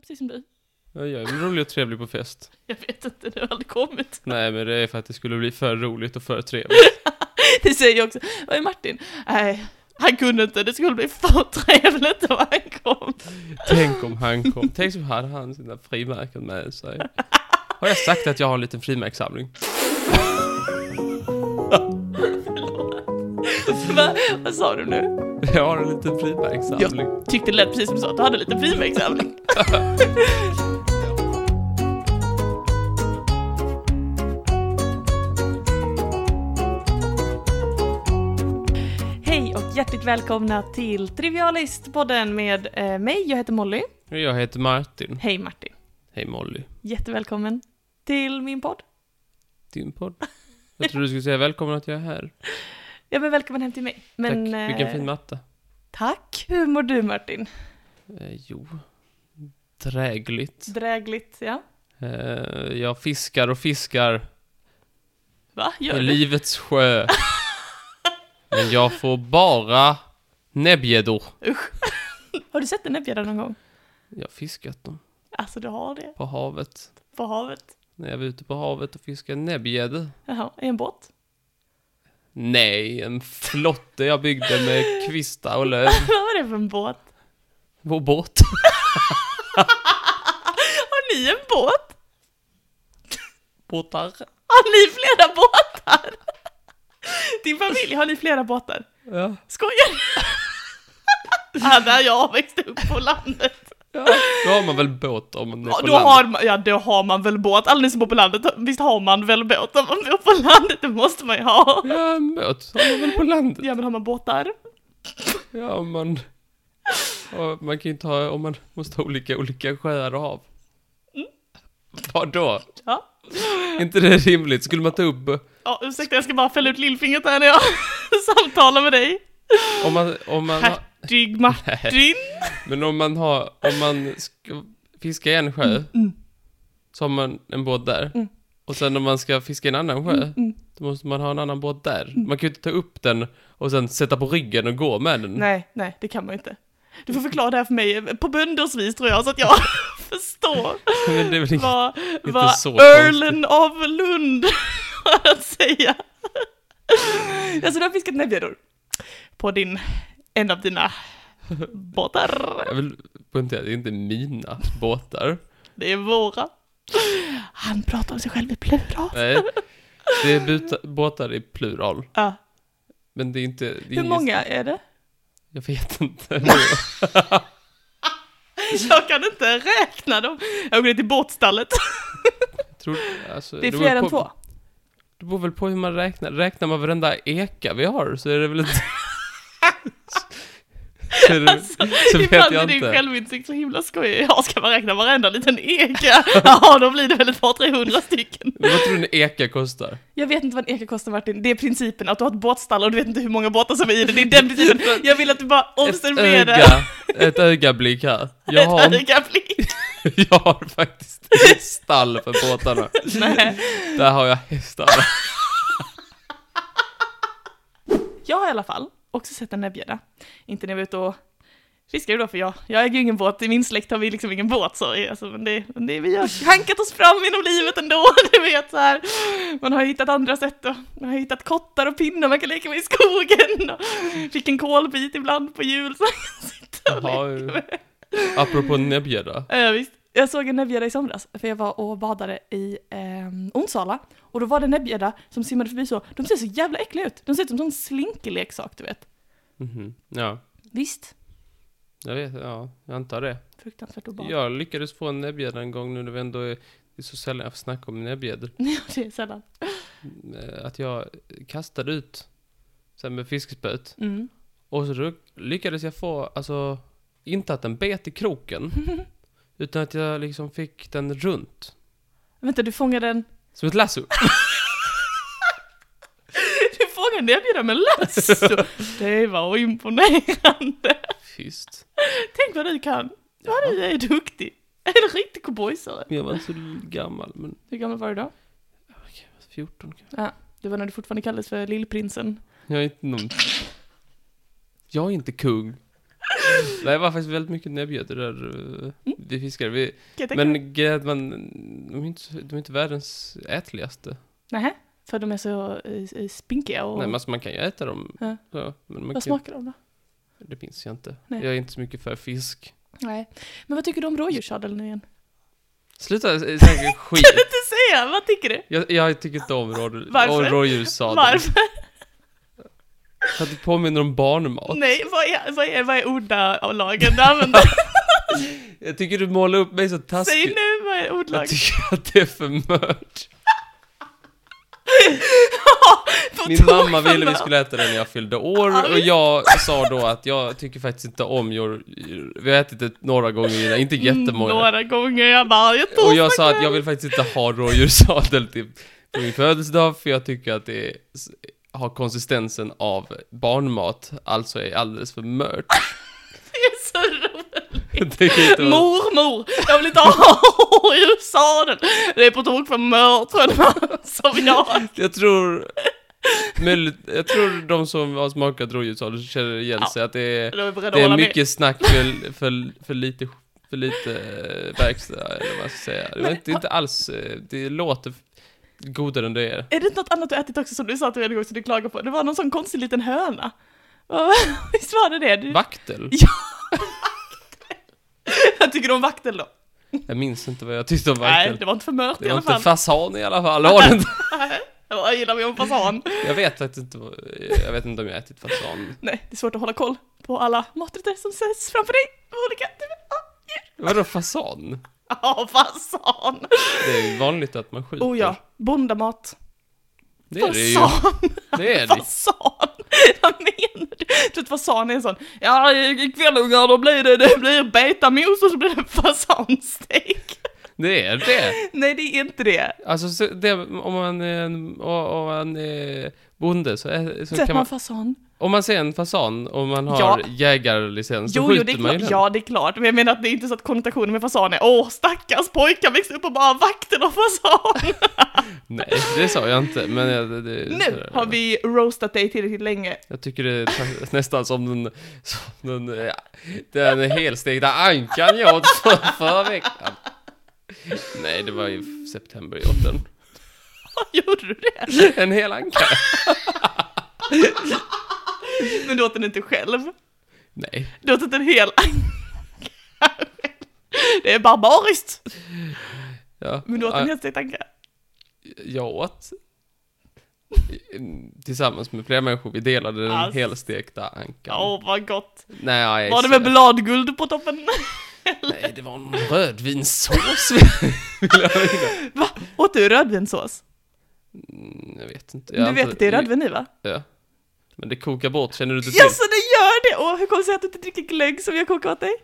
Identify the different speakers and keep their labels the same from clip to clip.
Speaker 1: precis som du.
Speaker 2: Ja, jag är väl rolig och trevlig på fest.
Speaker 1: Jag vet inte, du har aldrig kommit.
Speaker 2: Nej, men det är för att det skulle bli för roligt och för trevligt.
Speaker 1: Det säger jag också. Vad är Martin? Nej, han kunde inte. Det skulle bli för trevligt om han kom.
Speaker 2: Tänk om han kom. Tänk så hade han sina frimärken med sig. Har jag sagt att jag har en liten frimärkssamling?
Speaker 1: Va? Vad sa du nu?
Speaker 2: Jag har en liten frimärkssamling.
Speaker 1: Tyckte det lät precis som du sa att du hade lite frimärkssamling. Hej och hjärtligt välkomna till Trivialist-podden med eh, mig, jag heter Molly.
Speaker 2: Jag heter Martin.
Speaker 1: Hej Martin.
Speaker 2: Hej Molly.
Speaker 1: Jättevälkommen till min podd.
Speaker 2: Din podd. Jag trodde du skulle säga välkommen att jag är här.
Speaker 1: Ja, men välkommen hem till mig. Men,
Speaker 2: Tack. Vilken
Speaker 1: eh,
Speaker 2: fin matta.
Speaker 1: Tack. Hur mår du Martin?
Speaker 2: Eh, jo. Drägligt.
Speaker 1: Drägligt, ja.
Speaker 2: Eh, jag fiskar och fiskar
Speaker 1: Va? Gör
Speaker 2: i
Speaker 1: du?
Speaker 2: livets sjö. Men jag får bara näbbgäddor.
Speaker 1: Har du sett en näbbgädda någon gång?
Speaker 2: Jag har fiskat dem
Speaker 1: Alltså du har det,
Speaker 2: på havet.
Speaker 1: på havet.
Speaker 2: När jag var ute på havet och fiskade näbbgäddor.
Speaker 1: Jaha, i en båt?
Speaker 2: Nej, en flotte jag byggde med kvistar och löv.
Speaker 1: Vad var det för en båt?
Speaker 2: Vår båt.
Speaker 1: Ah, Har ni en båt?
Speaker 2: Båtar.
Speaker 1: Har ni flera båtar? Din familj, har ni flera båtar?
Speaker 2: Ja.
Speaker 1: Skojar du? Ja, där jag växte upp på landet.
Speaker 2: ja. Då har man väl båt om man är
Speaker 1: Ja,
Speaker 2: på
Speaker 1: då,
Speaker 2: land.
Speaker 1: har man, ja, då har man väl båt, alla ni som bor på landet, visst har man väl båt om man bor på landet? Det måste man ju ha.
Speaker 2: Ja, en båt har man väl på landet.
Speaker 1: Ja, men har man båtar?
Speaker 2: Ja, om man... Ja, man kan ju inte ha... Om man måste ha olika, olika sjöar och hav.
Speaker 1: Mm.
Speaker 2: Vadå?
Speaker 1: Ja.
Speaker 2: inte det rimligt? Skulle man ta upp...
Speaker 1: Ja, ursäkta, jag ska bara fälla ut lillfingret här när jag samtalar med dig.
Speaker 2: Om man... Om man har,
Speaker 1: Hertig Martin.
Speaker 2: men om man har... Om man ska fiska i en sjö. Så har man en båt där.
Speaker 1: Mm.
Speaker 2: Och sen om man ska fiska i en annan sjö. Då måste man ha en annan båt där.
Speaker 1: Mm.
Speaker 2: Man kan ju inte ta upp den och sen sätta på ryggen och gå med den.
Speaker 1: Nej, nej, det kan man ju inte. Du får förklara det här för mig på bönders vis tror jag, så att jag förstår
Speaker 2: Men det är väl inget...
Speaker 1: vad,
Speaker 2: inte
Speaker 1: vad
Speaker 2: så
Speaker 1: Earlen av Lund har att säga. Alltså du har fiskat näbbgäddor på din, en av dina båtar.
Speaker 2: Jag vill poängtera, det är inte mina båtar.
Speaker 1: Det är våra. Han pratar om sig själv i plural.
Speaker 2: Nej. Det är buta- båtar i plural.
Speaker 1: Ja.
Speaker 2: Men det är inte... Det är
Speaker 1: Hur
Speaker 2: ingen-
Speaker 1: många är det?
Speaker 2: Jag vet inte.
Speaker 1: Jag kan inte räkna dem. Jag går ner till båtstallet.
Speaker 2: Jag tror, alltså,
Speaker 1: Det är
Speaker 2: beror
Speaker 1: fler än
Speaker 2: på-
Speaker 1: två.
Speaker 2: Det beror väl på hur man räknar. Räknar man varenda eka vi har så är det väl inte... så är det,
Speaker 1: Alltså,
Speaker 2: så vet
Speaker 1: Ibland är
Speaker 2: jag
Speaker 1: din
Speaker 2: inte.
Speaker 1: självinsikt så himla skojig. Ja, ska man räkna varenda liten eka? Ja, då blir det väl ett par, tre hundra stycken.
Speaker 2: Men Vad tror du en eka kostar?
Speaker 1: Jag vet inte vad en eka kostar Martin. Det är principen att du har ett båtstall och du vet inte hur många båtar som är i det. Det är den principen. Jag vill att du bara
Speaker 2: Ett
Speaker 1: observerar ett,
Speaker 2: öga. Ett ögablick här. Jag har,
Speaker 1: ett
Speaker 2: en-
Speaker 1: ögonblick.
Speaker 2: jag har faktiskt ett stall för båtarna.
Speaker 1: Nej.
Speaker 2: Där har jag hästar.
Speaker 1: Jag har i alla fall också sett en näbbgädda. Inte när jag var ute och fiskade då, för jag, jag äger ju ingen båt. I min släkt har vi liksom ingen båt, så alltså, men det, men det, vi har hankat oss fram genom livet ändå, du vet så här. Man har ju hittat andra sätt och man har ju hittat kottar och pinnar man kan leka med i skogen. Och fick en kolbit ibland på jul så man kan sitta och
Speaker 2: Jaha,
Speaker 1: leka med.
Speaker 2: Apropå näbbgädda.
Speaker 1: Ja, Eh, visst. Jag såg en näbbgädda i somras, för jag var och badade i ehm, Onsala. Och då var det en näbbgädda som simmade förbi så. De ser så jävla äckliga ut. De ser ut som en sån slinkeleksak, du vet.
Speaker 2: Mhm. Ja,
Speaker 1: Visst.
Speaker 2: jag vet. Ja, jag antar det.
Speaker 1: Fruktansvärt obehagligt. Ja.
Speaker 2: Jag lyckades få en näbbgädda en gång nu när vi ändå är... Det är så sällan jag får snacka om näbbgäddor.
Speaker 1: det är sällan.
Speaker 2: Eh, Att jag kastade ut sen med fiskespöet.
Speaker 1: Mm.
Speaker 2: Och så ru- lyckades jag få, alltså, inte att den bet i kroken. utan att jag liksom fick den runt.
Speaker 1: Vänta, du fångade en...
Speaker 2: Som ett lasso.
Speaker 1: Du fångade en erbjudande med lasso! Det var imponerande!
Speaker 2: Fist.
Speaker 1: Tänk vad du kan!
Speaker 2: Ja,
Speaker 1: Vad du är duktig! Är du riktig cowboysare?
Speaker 2: jag var inte så gammal, men
Speaker 1: Hur gammal var du då?
Speaker 2: okej, jag var 14 kanske.
Speaker 1: Det var när du fortfarande kallades för lillprinsen.
Speaker 2: Jag är inte någon... Jag är inte kung. Nej, det var faktiskt väldigt mycket näbbgöte där. eh, Vi fiskade. Vi,
Speaker 1: jag tänka mig.
Speaker 2: men grejen är att man, de är inte, de är inte världens ätligaste.
Speaker 1: Nähä, för de är så eh, spinkiga och...
Speaker 2: Nej, men alltså man kan ju äta dem.
Speaker 1: Ja.
Speaker 2: Så, men man
Speaker 1: Vad
Speaker 2: kan,
Speaker 1: smakar de då?
Speaker 2: det minns jag inte.
Speaker 1: Nej.
Speaker 2: Jag är inte så mycket för fisk.
Speaker 1: Nej. Men vad tycker du om rådjurssadel nu igen?
Speaker 2: Sluta eh, snacka skit.
Speaker 1: Kan du inte säga? Vad tycker du?
Speaker 2: Jag, jag tycker inte om råd-
Speaker 1: Varför?
Speaker 2: om rådjurssadel.
Speaker 1: Varför?
Speaker 2: För att det påminner om barnmat.
Speaker 1: Nej, vad är, vad är, vad är ordalagen du använder?
Speaker 2: Jag tycker du målar upp mig så
Speaker 1: Säg
Speaker 2: taskigt.
Speaker 1: nu vad är
Speaker 2: Jag
Speaker 1: ordlagen?
Speaker 2: tycker att det är för mört.
Speaker 1: På
Speaker 2: Min
Speaker 1: tok
Speaker 2: mamma
Speaker 1: för
Speaker 2: ville vi
Speaker 1: bra.
Speaker 2: skulle äta den när jag fyllde år
Speaker 1: Ja,
Speaker 2: och
Speaker 1: visst.
Speaker 2: jag sa då att jag tycker faktiskt inte om jord... Vi har ätit det några gånger innan, inte
Speaker 1: Mm,
Speaker 2: jättemånga.
Speaker 1: Några gånger, jag bara, jag
Speaker 2: Och jag sa att jag vill faktiskt inte ha rådjurssadel till på min födelsedag för jag tycker att det är, har konsistensen av barnmat, alltså är alldeles för mört.
Speaker 1: Det är så roligt.
Speaker 2: Jag tycker inte om-
Speaker 1: Mormor, jag vill inte ha rådjurssadel. Det är på tok för mört för en man som jag.
Speaker 2: Jag tror... möjligt- Jag tror de som har smakat rådjursadel känner igen
Speaker 1: Ja.
Speaker 2: sig att det är,
Speaker 1: Då är vi beredda att
Speaker 2: det är
Speaker 1: hålla med.
Speaker 2: mycket snack för, för, för lite för lite eh, verkstad, eller vad man ska säga. Det är
Speaker 1: Men-
Speaker 2: inte, inte alls, eh, det låter godare än det är.
Speaker 1: Är det inte något annat du ätit också som du sa att du en gång som du klagade på? Det var någon sån konstig liten höna. Visst var det det? Du,
Speaker 2: Vaktel?
Speaker 1: jag tycker om vaktel då.
Speaker 2: Jag minns inte vad jag tyckte om
Speaker 1: Nej,
Speaker 2: vaktel.
Speaker 1: det var inte för mört
Speaker 2: Det
Speaker 1: i
Speaker 2: var
Speaker 1: alla
Speaker 2: inte
Speaker 1: fall.
Speaker 2: fasan i alla fall, har det inte.
Speaker 1: Jag gillar mig om fasan.
Speaker 2: Jag vet faktiskt inte, vad- jag vet inte om jag ätit fasan.
Speaker 1: Nej, det är svårt att hålla koll på alla maträtter som sätts framför dig. Olika typer av djur.
Speaker 2: Vadå fasan?
Speaker 1: Ja, fasan!
Speaker 2: Det är ju vanligt att man skjuter.
Speaker 1: Oh ja, bondamat.
Speaker 2: Det är det ju.
Speaker 1: Fasan!
Speaker 2: Det är det ju.
Speaker 1: Fasan! Vad menar du? Du vet fasan är en sån, ja ikväll ungar då blir det, det blir betamos och så blir det fasanstek.
Speaker 2: Det är det.
Speaker 1: Nej det är inte det.
Speaker 2: Alltså, så det, om man är en, om man är bonde så, är, så
Speaker 1: Sätter
Speaker 2: kan man...
Speaker 1: man fasan?
Speaker 2: Om man ser en fasan och man har
Speaker 1: Ja.
Speaker 2: jägarlicens, så
Speaker 1: Jo, jo, det
Speaker 2: skjuter
Speaker 1: är
Speaker 2: man ju
Speaker 1: klart.
Speaker 2: den.
Speaker 1: Ja, det är klart. Men jag menar att det är inte så att konnotationen med fasan är åh, stackars pojkar växte upp och bara vakten och fasan.
Speaker 2: Nej, det sa jag inte, men jag, det, det,
Speaker 1: nu har vi roastat dig tillräckligt länge.
Speaker 2: Jag tycker det är ta- nästan som den, som den, ja, den helstekta ankan jag åt för, förra veckan. Nej, det var i september jag åt den.
Speaker 1: Gjorde du det?
Speaker 2: En hel anka?
Speaker 1: Men du åt den inte själv.
Speaker 2: Nej.
Speaker 1: Du åt inte en hel anka. Det är barbariskt!
Speaker 2: Ja.
Speaker 1: Men du åt
Speaker 2: Ja,
Speaker 1: en helstek anka.
Speaker 2: jag åt tillsammans med flera människor, vi delade den
Speaker 1: Alltså.
Speaker 2: helstekta ankan.
Speaker 1: Åh, vad gott.
Speaker 2: Nej,
Speaker 1: Var det med bladguld på toppen?
Speaker 2: Nej, det var en rödvinssås. vill jag, mena.
Speaker 1: Va? Åt du rödvinssås?
Speaker 2: Mm, jag vet inte. Jag
Speaker 1: Du vet
Speaker 2: antar-
Speaker 1: att det är rödvin i va?
Speaker 2: Ja. Men det kokar bort, känner du inte
Speaker 1: Jaså, det gör det! Åh, hur kommer det sig att du inte dricker glögg som jag kokar åt dig?
Speaker 2: till?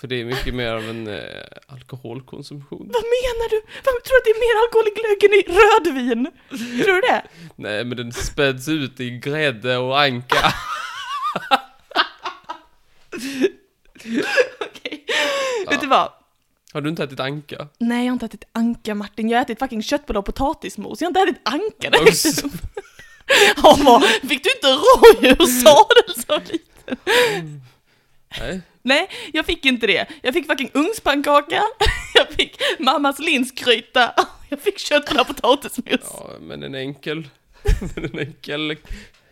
Speaker 2: För det är mycket mer av en eh, alkoholkonsumtion.
Speaker 1: Vad menar du? Vad, tror du att det är mer alkohol i glögg än i rödvin? Tror du det?
Speaker 2: Nej, men den späds ut i grädde och anka.
Speaker 1: Okej.
Speaker 2: Ja.
Speaker 1: Vet du vad?
Speaker 2: Har du inte ätit anka?
Speaker 1: Nej, jag har inte ätit anka Martin. Jag har ätit fucking köttbullar och potatismos. Jag har inte ätit anka. Det
Speaker 2: Och
Speaker 1: vet
Speaker 2: så-
Speaker 1: du. Ja, vad? Fick du inte rådjurssadel som liten?
Speaker 2: Nej.
Speaker 1: Nej, jag fick inte det. Jag fick fucking ugnspannkaka, jag fick mammas linsgryta, jag fick köttbullar och potatismos.
Speaker 2: Ja, men en enkel... men en enkel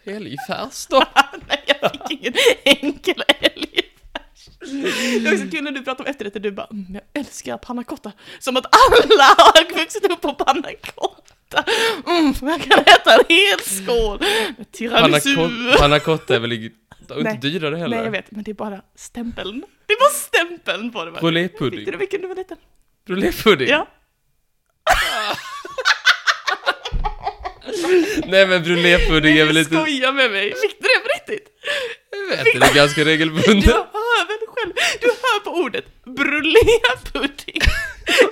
Speaker 2: helgfärs då?
Speaker 1: Nej, jag fick ingen enkel älgfärs. Det är också kul när du pratar om efterrätter, du bara mm, jag älskar pannacotta. Som att alla har vuxit upp på pannacotta. Mm, jag kan äta en hel skål med tiramisu.
Speaker 2: Pannacotta pannacotta är väl inget- det är
Speaker 1: Nej.
Speaker 2: inte dyrare heller?
Speaker 1: Nej, jag vet, men det är bara stämpeln. Det är bara stämpeln på det. Martin. Fick
Speaker 2: Rouletpudding.
Speaker 1: du det vilken du var liten?
Speaker 2: Rouletpudding?
Speaker 1: Ja.
Speaker 2: Nej men rouletpudding är väl
Speaker 1: Du
Speaker 2: lite...
Speaker 1: skojar med mig. Fick du det på riktigt?
Speaker 2: Jag vet, det är ganska regelbundet.
Speaker 1: Du hör väl själv, du hör på ordet brulépudding.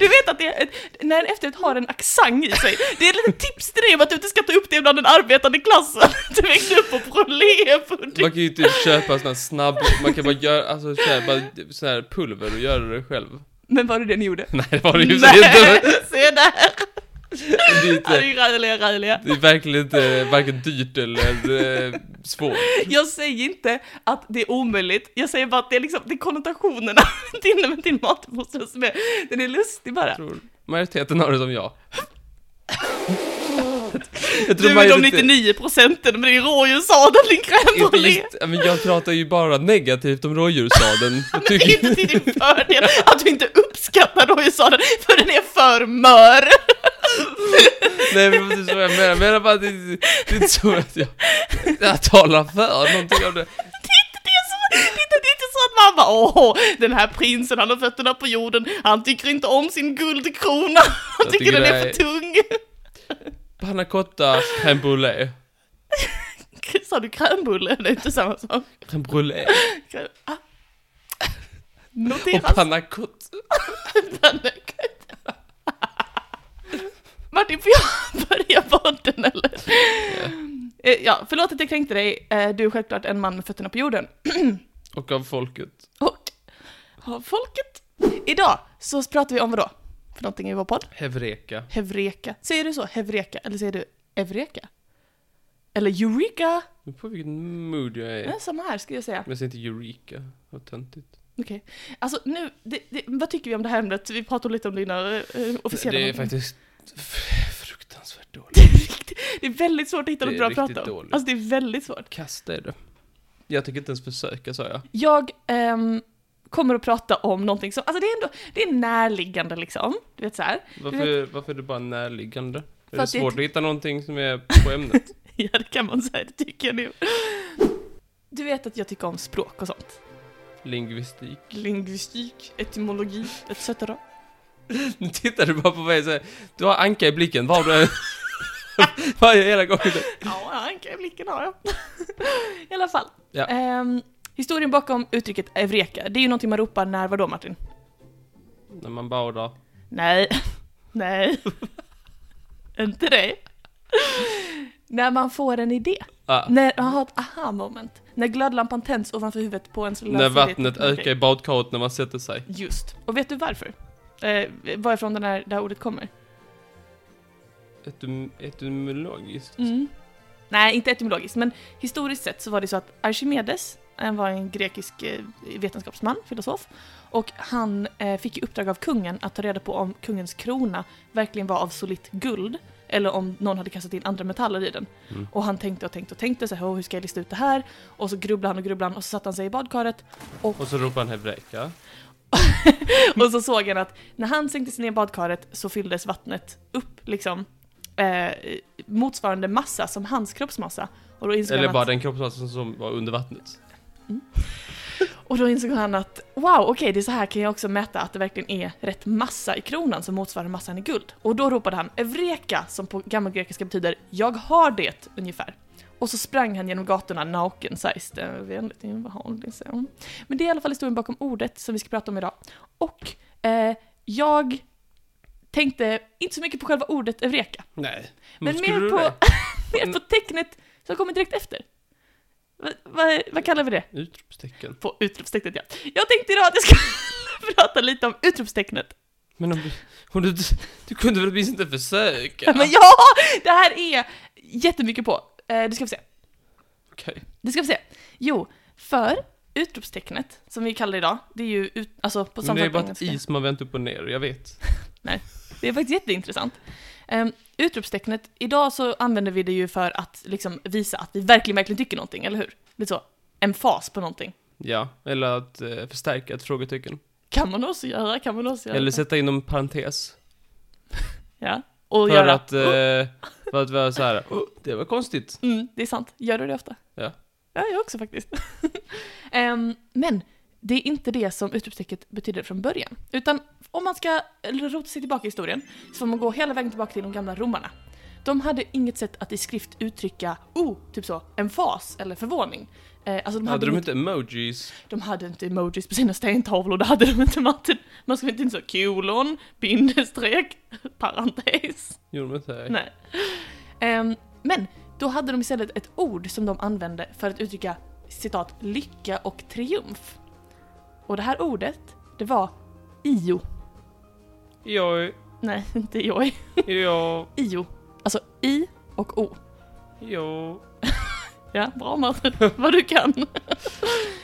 Speaker 1: Du vet att det är ett, när en efterrätt har en accent i sig, det är ett litet tips till dig om att du inte ska ta upp det bland den arbetande klassen. Du växte upp på brulépudding.
Speaker 2: Man kan ju typ köpa sån här snabb, man kan bara göra, alltså köpa sån här pulver och göra det själv.
Speaker 1: Men var det det ni gjorde?
Speaker 2: Nej det var det ju så
Speaker 1: Nej,
Speaker 2: inte.
Speaker 1: se där!
Speaker 2: Det är,
Speaker 1: Ja, det är
Speaker 2: inte,
Speaker 1: ju rörliga, rörliga.
Speaker 2: det är verkligen inte varken dyrt eller eh, svårt.
Speaker 1: Jag säger inte att det är omöjligt, jag säger bara att det är liksom, det är konnotationerna till, till matmoster som är, den är lustig bara.
Speaker 2: tror majoriteten har det som jag. jag
Speaker 1: Du är de 99 procenten, men det är rådjurssadeln din crème
Speaker 2: inte
Speaker 1: brûlée.
Speaker 2: just, ja, men jag pratar ju bara negativt om rådjurssadeln. Jag
Speaker 1: Det är inte
Speaker 2: tycker-
Speaker 1: till din fördel att du inte uppskattar rådjurssadeln, för den är för mör.
Speaker 2: Nej men det är så jag menar, jag menar bara att det, det är inte så att jag, jag talar för någonting av det.
Speaker 1: Det är, så, det, är inte, det är inte så att man bara åh, den här prinsen han har fötterna på jorden, han tycker inte om sin guldkrona, han
Speaker 2: Jag
Speaker 1: tycker,
Speaker 2: tycker
Speaker 1: den
Speaker 2: det
Speaker 1: är
Speaker 2: är-
Speaker 1: för tung.
Speaker 2: Panna cotta, crème brûlée.
Speaker 1: Sa du crème Det är inte samma sak.
Speaker 2: Crème brûlée.
Speaker 1: Crème- Ah.
Speaker 2: Och
Speaker 1: Noteras.
Speaker 2: panna cotta.
Speaker 1: Martin, får jag börja podden eller? Eh, Ja, förlåt att jag kränkte dig. Eh, Du är självklart en man med fötterna på jorden.
Speaker 2: Och av folket.
Speaker 1: Och av folket. Idag så pratar vi om vadå? För någonting i vår podd?
Speaker 2: Hevreka.
Speaker 1: Hevreka. Säger du så? Hevreka? Eller säger du Evreka? Eller Eureka?
Speaker 2: Nu på vilken mood jag är.
Speaker 1: Ja, samma här skulle jag säga.
Speaker 2: Men jag säger inte Eureka. Vad töntigt.
Speaker 1: Okej. Alltså nu, det, det, vad tycker vi om det här ämnet? Vi pratade lite om dina eh, officiella...
Speaker 2: Det är
Speaker 1: namn.
Speaker 2: faktiskt f- fruktansvärt dåligt.
Speaker 1: det är väldigt svårt att hitta
Speaker 2: Det
Speaker 1: något
Speaker 2: är
Speaker 1: bra att
Speaker 2: riktigt
Speaker 1: prata om.
Speaker 2: dåligt.
Speaker 1: Alltså det är väldigt svårt.
Speaker 2: Kasta är det. Jag tänker inte ens försöka sa jag.
Speaker 1: Jag ehm, kommer att prata om någonting som, alltså det är ändå, det är närliggande liksom. Du vet så här.
Speaker 2: Varför, varför är det bara närliggande? Är det
Speaker 1: att det är
Speaker 2: svårt
Speaker 1: ett-
Speaker 2: att hitta någonting som är på ämnet?
Speaker 1: Ja det kan man säga, det tycker jag nu. Du vet att jag tycker om språk och sånt.
Speaker 2: Lingvistik.
Speaker 1: Lingvistik, etymologi, etc.
Speaker 2: Nu tittar du bara på mig så här. Du har anka i blicken. Var du Varje hela gången.
Speaker 1: Ja, anka i blicken har jag. I alla fall.
Speaker 2: Ja.
Speaker 1: Ehm, historien bakom uttrycket evreka, det är ju någonting man ropar när vadå Martin?
Speaker 2: När man badar.
Speaker 1: Nej. Nej. Inte det. När man får en idé.
Speaker 2: Ah.
Speaker 1: När man har ett aha-moment. När glödlampan tänds ovanför huvudet på en så
Speaker 2: När vattnet ökar i badkaret när man sätter sig.
Speaker 1: Just. Och vet du varför? Eh, varifrån den här, det här ordet kommer?
Speaker 2: Etym- etymologiskt.
Speaker 1: Mm. Nej, inte etymologiskt, men historiskt sett så var det så att Archimedes, han var en grekisk eh, vetenskapsman, filosof, och han eh, fick i uppdrag av kungen att ta reda på om kungens krona verkligen var av solitt guld, eller om någon hade kastat in andra metaller i den.
Speaker 2: Mm.
Speaker 1: Och han tänkte och tänkte och tänkte så här, "Åh, hur ska jag lista ut det här? Och så grubblade han och grubblade han och så satte han sig i badkaret
Speaker 2: Och så ropar han hebreka.
Speaker 1: Och så såg han att när han sänkte sig ner i badkaret så fylldes vattnet upp liksom eh, motsvarande massa som hans kroppsmassa. Och då insåg,
Speaker 2: Eller
Speaker 1: han
Speaker 2: bara
Speaker 1: att,
Speaker 2: den kroppsmassan som var under vattnet.
Speaker 1: och då insåg han att wow, okej det är så här kan jag också mäta att det verkligen är rätt massa i kronan som motsvarar massan i guld. Och då ropade han evreka som på gammalgrekiska betyder jag har det ungefär. Och så sprang han genom gatorna naken, sägs det. Väldigt ovanligt. så. Men det är i alla fall historien bakom ordet som vi ska prata om idag. Och eh, jag tänkte inte så mycket på själva ordet eureka,
Speaker 2: Nej.
Speaker 1: men
Speaker 2: Skulle
Speaker 1: mer
Speaker 2: du
Speaker 1: på,
Speaker 2: det?
Speaker 1: mer på tecknet som kommer direkt efter. Va, va, vad kallar vi det?
Speaker 2: Utropstecken.
Speaker 1: På utropstecknet, ja. Jag tänkte idag att jag skulle prata lite om utropstecknet.
Speaker 2: Men om, om du, du kunde väl åtminstone inte försöka?
Speaker 1: Men ja, det här är jättemycket på. Eh, du ska få se.
Speaker 2: Okej.
Speaker 1: Det ska vi se. Jo, för utropstecknet, som vi kallar det idag, det är ju ut, alltså på
Speaker 2: Men
Speaker 1: samma
Speaker 2: det är
Speaker 1: sätt på
Speaker 2: bara ett
Speaker 1: engelska.
Speaker 2: is man vänt upp och ner, jag vet.
Speaker 1: Det är faktiskt jätteintressant. Um, utropstecknet, idag så använder vi det ju för att liksom visa att vi verkligen, verkligen tycker någonting, eller hur? Lite så, en fas på någonting.
Speaker 2: Ja, eller att eh, förstärka ett frågetecken.
Speaker 1: Kan man också göra, kan man också göra.
Speaker 2: Eller sätta in en parentes.
Speaker 1: ja. Och
Speaker 2: För
Speaker 1: göra.
Speaker 2: att, eh, för att vara så här. "Oh, det var konstigt.
Speaker 1: Mm, det är sant. Gör du det ofta?
Speaker 2: Ja.
Speaker 1: Ja, jag också faktiskt. Ehm, men det är inte det som utropstecknet betyder från början. Utan om man ska rota sig tillbaka i historien så får man gå hela vägen tillbaka till de gamla romarna. De hade inget sätt att i skrift uttrycka oh, typ så, en fas eller förvåning. Eh, alltså de hade,
Speaker 2: Hade de
Speaker 1: inget-
Speaker 2: inte emojis?
Speaker 1: de hade inte emojis på sina stentavlor, det hade de inte Martin. Man skrev inte in så kolon, bindestreck, parentes.
Speaker 2: Gjorde de inte det?
Speaker 1: Nej. Ehm, men då hade de istället ett ord som de använde för att uttrycka citat lycka och triumf. Och det här ordet, det var io.
Speaker 2: Jag är
Speaker 1: Nej, inte joj.
Speaker 2: Jo,
Speaker 1: Io. Alltså I och O.
Speaker 2: jo.
Speaker 1: Ja, bra Martin. Vad du kan.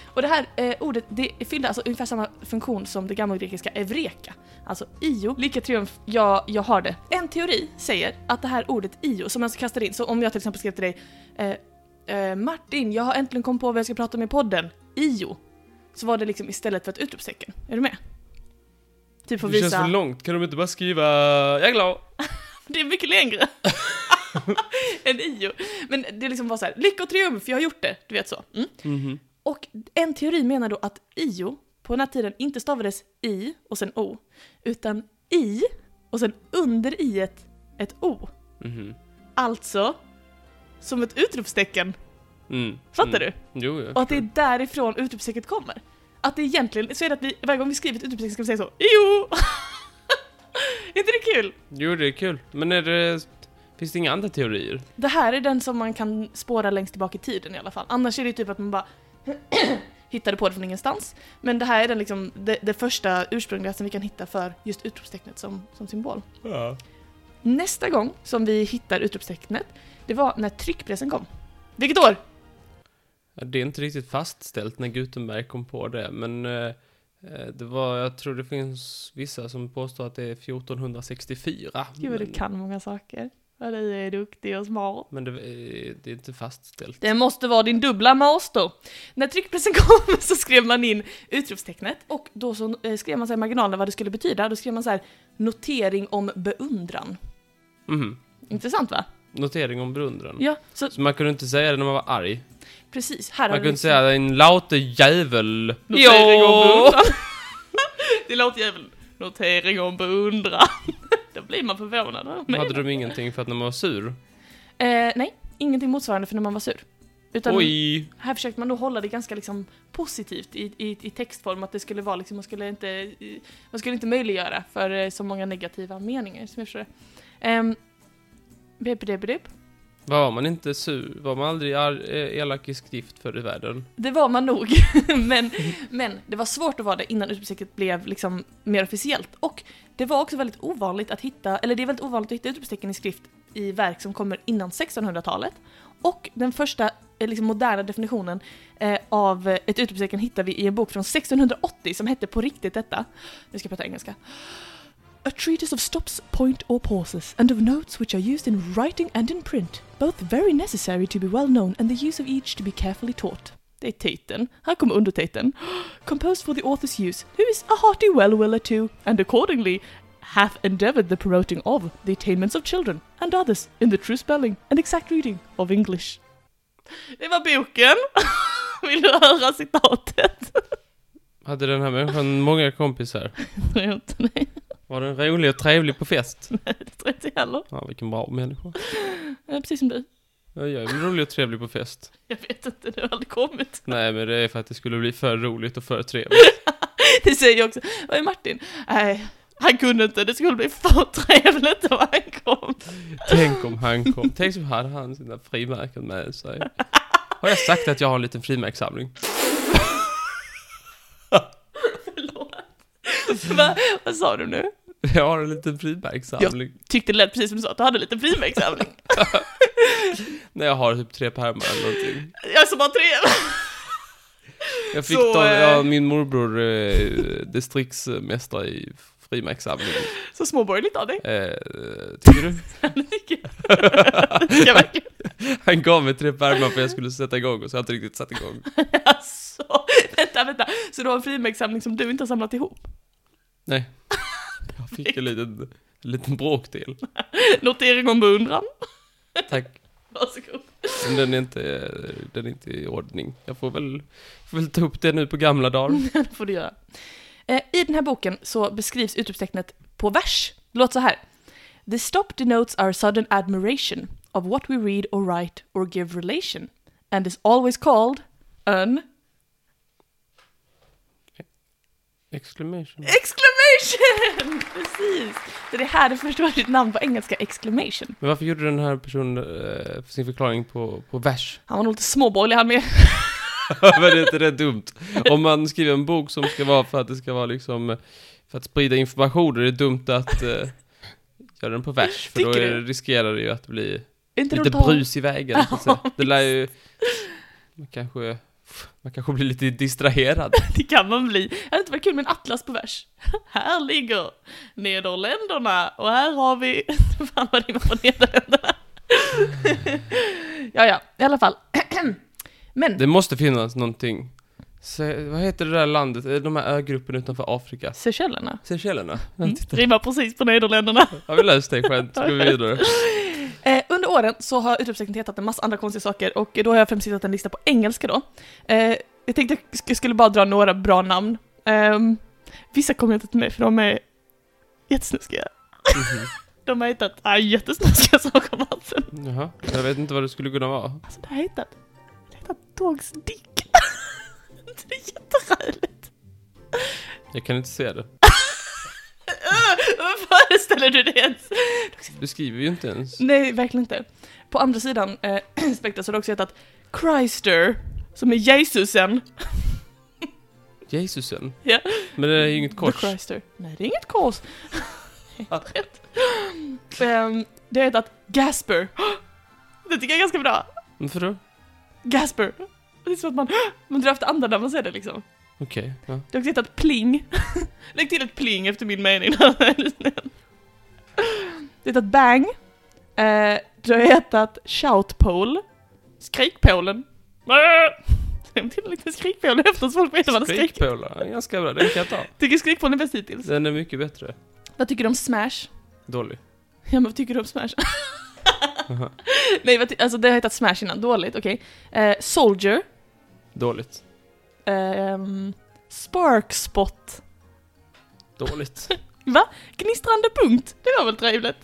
Speaker 1: Och det här eh, ordet det fyllde alltså ungefär samma funktion som det gammalgrekiska evreka. Alltså io. Lika triumf, ja, jag har det. En teori säger att det här ordet io som jag alltså kastar in, så om jag till exempel skrev till dig eh, eh, Martin, jag har äntligen kommit på vad jag ska prata om i podden. Io. Så var det liksom istället för ett utropstecken. Är du med? Typ för att
Speaker 2: Det känns för
Speaker 1: visa...
Speaker 2: långt, kan de inte bara skriva jag är glad?
Speaker 1: Det är mycket längre. än io. Men det liksom var så här, lycka och triumf, jag har gjort det. Du vet så. Mm.
Speaker 2: Mhm.
Speaker 1: Och en teori menar då att io på den här tiden inte stavades i och sen o, utan i och sen under i ett, ett o.
Speaker 2: Mhm.
Speaker 1: Alltså som ett utropstecken.
Speaker 2: Mm.
Speaker 1: Fattar
Speaker 2: mm.
Speaker 1: du?
Speaker 2: Jo, jag
Speaker 1: Och att det är därifrån utropstecknet kommer. Att det egentligen, så är det att vi, varje gång vi skriver ett utropstecken ska vi säga så io! är inte det kul?
Speaker 2: Jo, det är kul. Men är det... Finns det inga andra teorier?
Speaker 1: Det här är den som man kan spåra längst tillbaka i tiden i alla fall. Annars är det ju typ att man bara hittade på det från ingenstans. Men det här är den liksom, det, det första ursprungliga som vi kan hitta för just utropstecknet som, som symbol.
Speaker 2: Ja.
Speaker 1: Nästa gång som vi hittar utropstecknet, det var när tryckpressen kom. Vilket år?
Speaker 2: Det är inte riktigt fastställt när Gutenberg kom på det, men... eh, eh, Det var, jag tror det finns vissa som påstår att det är 1464.
Speaker 1: Gud vad du
Speaker 2: men-
Speaker 1: kan många saker. Vad du är duktig och smart.
Speaker 2: Men det, eh, det är inte fastställt.
Speaker 1: Det måste vara din dubbla master. När tryckpressen kom så skrev man in utropstecknet och då så eh, skrev man så här i marginalen vad det skulle betyda. Då skrev man så här notering om beundran.
Speaker 2: Mhm.
Speaker 1: Intressant va?
Speaker 2: Notering om beundran.
Speaker 1: Ja, så
Speaker 2: Så man kunde inte säga det när man var arg.
Speaker 1: precis. Här
Speaker 2: Man
Speaker 1: har
Speaker 2: kunde
Speaker 1: du
Speaker 2: inte säga en laute jävel.
Speaker 1: notering om
Speaker 2: Jo!
Speaker 1: beundran. det låter jävligt. Notering om beundran. då blir man förvånad. va? Men,
Speaker 2: Hade de ingenting för att när man var sur?
Speaker 1: eh, nej, ingenting motsvarande för när man var sur. Utan
Speaker 2: Oj!
Speaker 1: här försökte man då hålla det ganska liksom positivt i, i, i textform, att det skulle vara liksom, man skulle inte, i- man skulle inte möjliggöra för eh, så många negativa meningar som jag förstår det. Ehm, bip, bip, bip.
Speaker 2: Var man inte sur? Var man aldrig ar- eh, elak i skrift förr i världen?
Speaker 1: Det var man nog, men, men det var svårt att vara det innan utropstecknet blev liksom mer officiellt. Och det var också väldigt ovanligt att hitta, eller det är väldigt ovanligt att hitta utropstecken i skrift i verk som kommer innan 1600-talet. Och den första eh, liksom, moderna definitionen eh, av eh, ett utropstecken hittar vi i en bok från 1680 som hette på riktigt detta. Nu ska jag prata engelska. A treatise of stops, point or pauses, and of notes which are used in writing and in print, both very necessary to be well known and the use of each to be carefully taught. Det är titeln. Här kommer undertiteln. Composed for the author's use, who is a hearty well-willer to, and accordingly hath endeavoured the promoting of the attainments of children and others in the true spelling and exact reading of English. Det var boken. Vill du höra citatet?
Speaker 2: Hade den här människan många kompisar?
Speaker 1: Nej, inte- nej,
Speaker 2: Var den rolig och trevlig på fest?
Speaker 1: det tror jag inte heller.
Speaker 2: Ja, vilken bra människa.
Speaker 1: Eh, Precis som du.
Speaker 2: Ja, Jag är väl rolig och trevlig på fest.
Speaker 1: Jag vet inte, det har aldrig kommit.
Speaker 2: Nej, men det är för att det skulle bli för roligt och för trevligt.
Speaker 1: Det säger jag också. Vad är Martin? Nej, han kunde inte. Det skulle bli för trevligt om han kom.
Speaker 2: Tänk om han kom. Tänk om hade han sina frimärken med sig. Har jag sagt att jag har en liten frimärkssamling?
Speaker 1: Förlåt. Va, vad sa du nu?
Speaker 2: Jag har en liten frimärkssamling.
Speaker 1: Tyckte det lät precis som du sa, att du hade lite frimärkssamling.
Speaker 2: När jag har typ tre pärmar eller någonting.
Speaker 1: Jag som har tre.
Speaker 2: Jag fick
Speaker 1: Så,
Speaker 2: dem,
Speaker 1: eh,
Speaker 2: ja, min morbror eh, distriktsmästare i frimärkssamling.
Speaker 1: Så småborgerligt av dig.
Speaker 2: Eh, tycker du?
Speaker 1: Det tycker jag. Det tycker jag verkligen.
Speaker 2: Han gav mig tre pärmar för jag skulle sätta igång och så har jag inte riktigt satt igång.
Speaker 1: Alltså, vänta, vänta. Så du har en frimärkssamling som du inte har samlat ihop?
Speaker 2: Nej. Jag fick en liten, en liten bråkdel.
Speaker 1: Notering om beundran.
Speaker 2: Tack.
Speaker 1: Varsågod.
Speaker 2: Men den är inte, eh, den är inte i ordning. Jag får väl, får väl ta upp det nu på gamla dagar.
Speaker 1: Det får du göra. Eh, I den här boken så beskrivs utropstecknet på vers. Det låter så här. The stop denotes our sudden admiration of what we read or write or give relation and is always called an
Speaker 2: Exclamation.
Speaker 1: exclamation! Precis! Så det är här du förstår ditt namn på engelska, exclamation.
Speaker 2: Men varför gjorde den här personen eh, sin förklaring på, på vers?
Speaker 1: Han var nog lite småborgerlig han med.
Speaker 2: Men det är inte det dumt? Om man skriver en bok som ska vara för att det ska vara liksom, eh, för att sprida information, då är det dumt att eh, Gör den på vers, för
Speaker 1: Tycker
Speaker 2: då är,
Speaker 1: du?
Speaker 2: riskerar det ju att bli
Speaker 1: Är inte
Speaker 2: lite
Speaker 1: roligt att ha-
Speaker 2: brus i vägen. Så att säga. Det lär ju... Man kanske, man kanske blir lite distraherad.
Speaker 1: Det kan man bli. Det hade inte varit kul med en atlas på vers. Här ligger Nederländerna och här har vi... Fan vad rimmar på Nederländerna? ja, ja, i alla fall. Men,
Speaker 2: Det måste finnas någonting. Se, vad heter det där landet? Eh, De här ögruppen utanför Afrika.
Speaker 1: Seychellerna.
Speaker 2: Seychellerna?
Speaker 1: Mm, rimmar precis på Nederländerna.
Speaker 2: Har vi löst det skönt? Gå vidare.
Speaker 1: Eh, under åren så har utropstecknet hetat en massa andra konstiga saker och då har jag främst hittat en lista på engelska då. Eh, jag tänkte jag sk- skulle bara dra några bra namn. Ehm, vissa kommer jag inte till mig för de är jättesnuskiga.
Speaker 2: Mhm.
Speaker 1: De har hittat ah, jättesnuskiga saker om halsen.
Speaker 2: Jaha, jag vet inte vad det skulle kunna vara.
Speaker 1: Alltså det har jag hittat. Det har hittat dogs dick. det är jätteräligt.
Speaker 2: Jag kan inte se det.
Speaker 1: Öh, Vad föreställer du dig ens?
Speaker 2: Du skriver ju inte ens.
Speaker 1: Nej, verkligen inte. På andra sidan eh, spektrat så har det också hetat Christer, som är Jesusen.
Speaker 2: Jesusen?
Speaker 1: Ja.
Speaker 2: Men det är ju inget kors.
Speaker 1: The Christer. Nej, det är inget kors. Rätt. Ehm, det har hetat Gasper. Det tycker jag är ganska bra.
Speaker 2: Varför då?
Speaker 1: Gasper. Det är som att man, man drar efter andan när man säger det liksom.
Speaker 2: Okej, ja.
Speaker 1: Det har också hetat pling. Lägg till ett pling efter min mening. det har hetat bang. Eh, det har hetat shoutpole. Skrikpolen. Äh! Lägg till en liten skrikpål efter så folk vet vad det skriker.
Speaker 2: Skrikpålar, Ja, ganska bra. Den kan jag ta.
Speaker 1: Tycker skrikpolen är bäst hittills.
Speaker 2: Den är mycket bättre.
Speaker 1: Vad tycker du om smash?
Speaker 2: Dålig.
Speaker 1: Ja men vad tycker du om Smash? Nej vad ty- alltså det har hetat Smash innan, dåligt, okej. Eh, Soldier.
Speaker 2: Dåligt.
Speaker 1: Ehm, Sparkspot.
Speaker 2: Dåligt.
Speaker 1: Gnistrande punkt, det var väl trevligt.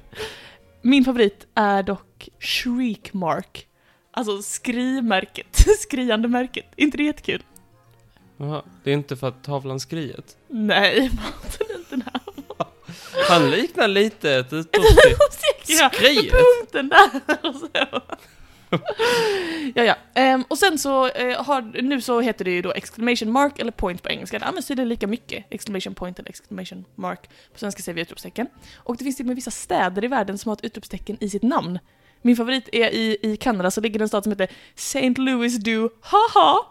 Speaker 1: Min favorit är dock Shriekmark. Alltså skrimärket, skriande märket. inte det jättekul?
Speaker 2: Jaha, det är inte för att tavlan skriet.
Speaker 1: Nej, Martin inte den här.
Speaker 2: Han liknar lite ett utropstecken.
Speaker 1: Ja, med
Speaker 2: Skriet?
Speaker 1: punkten där och så. ja, ja. Ehm, och sen så eh, har, nu så heter det ju då exclamation mark eller point på engelska. Det används tydligen lika mycket, exclamation point eller exclamation mark. På svenska säger vi utropstecken. Och det finns till och med vissa städer i världen som har ett utropstecken i sitt namn. Min favorit är i, i Kanada så ligger det en stad som heter St. Louis du haha!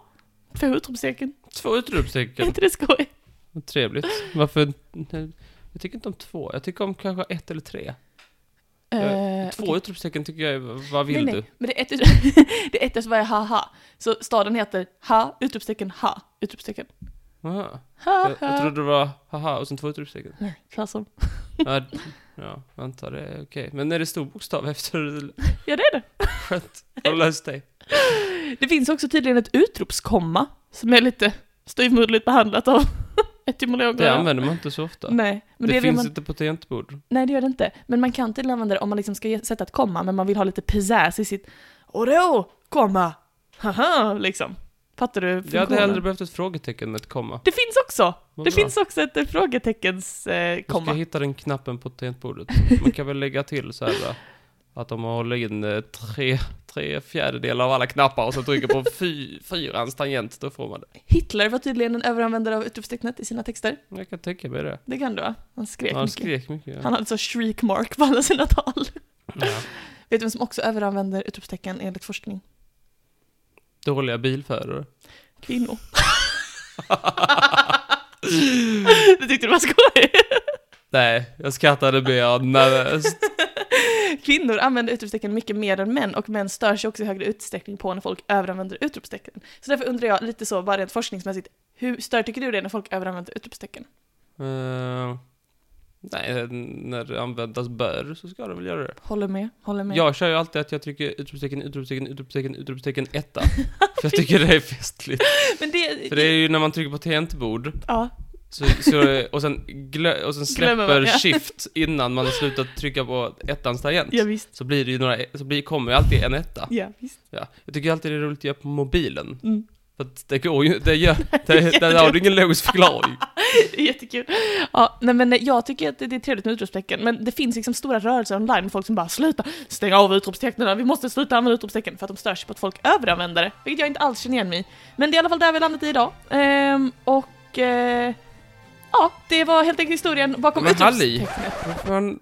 Speaker 1: Två utropstecken.
Speaker 2: Två
Speaker 1: Är
Speaker 2: utropstecken.
Speaker 1: inte det skoj?
Speaker 2: Vad Trevligt. Varför? nej, Jag tycker inte om två. Jag tycker om kanske ett eller tre. Jag-
Speaker 1: Eh,
Speaker 2: två
Speaker 1: okej.
Speaker 2: utropstecken tycker jag är... Vad vill
Speaker 1: nej,
Speaker 2: du?
Speaker 1: Nej, men det är ett, det är ett efter varje haha. Så staden heter ha, utropstecken ha, utropstecken.
Speaker 2: Jaha.
Speaker 1: Ha,
Speaker 2: Jag, jag
Speaker 1: ha.
Speaker 2: trodde det var haha och sen två utropstecken.
Speaker 1: Nej, tvärtom.
Speaker 2: Ja, d- ja, jag antar det är okej. Men är det stor bokstav efter?
Speaker 1: Ja, det är det.
Speaker 2: Skönt. Har du löst dig?
Speaker 1: Det finns också tydligen ett utropskomma som är lite styvmoderligt behandlat av etymologer.
Speaker 2: Det använder man inte så ofta.
Speaker 1: Nej, men
Speaker 2: det,
Speaker 1: det, är det
Speaker 2: finns
Speaker 1: man,
Speaker 2: inte på tangentbord.
Speaker 1: nej, det gör det inte. Men man kan tydligen använda det om man liksom ska ge- sätta ett komma, men man vill ha lite pizzazz i sitt Och då, komma! Haha, liksom. Fattar du
Speaker 2: Jag hade hellre
Speaker 1: funktionen?
Speaker 2: behövt ett frågetecken än ett komma.
Speaker 1: Det finns också!
Speaker 2: Vad
Speaker 1: Det
Speaker 2: bra.
Speaker 1: finns också ett eh, frågeteckens eh,
Speaker 2: Jag ska
Speaker 1: komma.
Speaker 2: hitta den knappen på tangentbordet. Man kan väl lägga till så här va, att de håller in eh, tre, tre fjärdedelar av alla knappar och så trycker på fy, fyrans tangent, då får man det.
Speaker 1: Hitler var tydligen en överanvändare av utropstecknet i sina texter.
Speaker 2: Jag kan tänka mig det.
Speaker 1: Det kan du va? Han skrek
Speaker 2: Han
Speaker 1: mycket.
Speaker 2: skrek mycket.
Speaker 1: Han
Speaker 2: Ja.
Speaker 1: hade så shriek mark på alla sina tal.
Speaker 2: Ja.
Speaker 1: Vet du vem som också överanvänder utropstecken enligt forskning?
Speaker 2: Dåliga bilförare.
Speaker 1: Kvinnor.
Speaker 2: Mm.
Speaker 1: det tyckte du var skoj.
Speaker 2: Nej, jag skrattade mer nervöst.
Speaker 1: Kvinnor använder utropstecken mycket mer än män och män stör sig också i högre utsträckning på när folk överanvänder utropstecken. Så därför undrar jag lite så, bara rent forskningsmässigt, hur stör tycker du det när folk överanvänder utropstecken?
Speaker 2: Eh, nej, när det användas bör så ska det väl göra det.
Speaker 1: Håller med, håller med.
Speaker 2: Jag kör ju alltid att jag trycker utropstecken, utropstecken, utropstecken, utropstecken, etta. För jag tycker det är festligt.
Speaker 1: Men det...
Speaker 2: För det är ju när man trycker på tangentbord,
Speaker 1: Ja,
Speaker 2: så, så, och, sen glö, och
Speaker 1: Glömmer
Speaker 2: sen släpper
Speaker 1: man, ja.
Speaker 2: shift innan man har slutat trycka på ettans tangent.
Speaker 1: ja visst.
Speaker 2: Så blir det ju några, så blir, kommer ju alltid en etta.
Speaker 1: Ja, visst.
Speaker 2: Ja. Jag tycker alltid det är roligt att göra på mobilen.
Speaker 1: Mm.
Speaker 2: För att det går ju, det gör, det, där har du ingen logisk förklaring.
Speaker 1: Det är Jättekul. Ja, nej, men jag tycker att det det är trevligt med utropstecken, men det finns liksom stora rörelser online med folk som bara sluta stänga av utropstecknen, vi måste sluta använda utropstecken för att de stör sig på att folk överanvänder det, vilket jag inte alls känner igen mig i. Men det är i alla fall där vi landat i idag. Ehm, och eh, ja, det var helt enkelt historien bakom
Speaker 2: Men Halli.
Speaker 1: utropstecknet.
Speaker 2: Fan,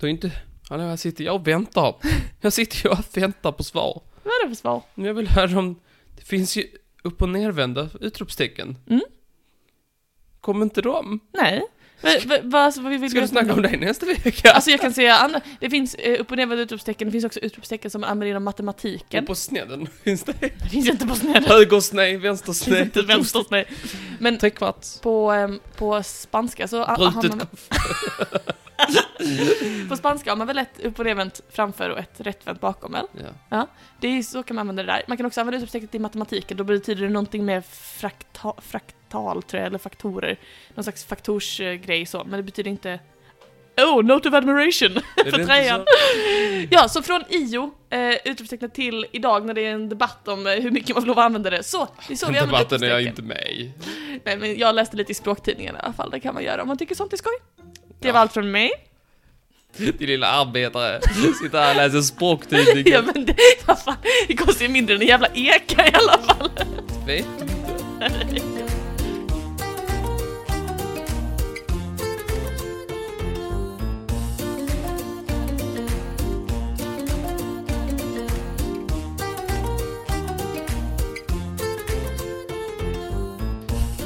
Speaker 2: Då är inte... Hallå, här sitter jag och väntar. Jag sitter ju och väntar på svar.
Speaker 1: Vad är det för svar?
Speaker 2: Men jag vill höra om... Det finns ju upp och nervända utropstecken.
Speaker 1: Mm.
Speaker 2: Kommer inte de?
Speaker 1: Nej. Vad, vad, vad, alltså, vad vill
Speaker 2: Ska du snacka om dig nästa vecka?
Speaker 1: Alltså jag kan säga, andra, det finns eh, upp och nervända utropstecken, det finns också utropstecken som använder inom matematiken.
Speaker 2: Och på snedden finns det
Speaker 1: Det finns ju inte på sned.
Speaker 2: högersnej, vänstersnej,
Speaker 1: Inte vänsters, nej. Men
Speaker 2: trekvarts,
Speaker 1: på, ehm, på spanska så... a- har
Speaker 2: brutet
Speaker 1: man- På spanska har man väl ett upp och nervänt framför och ett rättvänt bakom väl?
Speaker 2: Ja.
Speaker 1: Det är ju så kan man använda det där. Man kan också använda utropstecknet i matematiken, då betyder det någonting med frakta, fraktal tror jag, eller faktorer. Någon slags faktorsgrej så, men det betyder inte... Oh, note of admiration!
Speaker 2: Är det inte
Speaker 1: trean.
Speaker 2: så?
Speaker 1: Ja, så från IO, eh, utropstecknet till idag när det är en debatt om eh, hur mycket man får lov att använda det. Så, det är så vi använder
Speaker 2: Debatten är jag
Speaker 1: utropstecken.
Speaker 2: inte med i.
Speaker 1: Nej, men jag läste lite i språktidningen i alla fall, det kan man göra om man tycker sånt är skoj. Det var
Speaker 2: Ja.
Speaker 1: allt från mig.
Speaker 2: Din lilla arbetare, sitter här och läser språktidningen.
Speaker 1: Ja men det, vad fan, det kostar ju mindre än en jävla eka i alla fall.
Speaker 2: Vet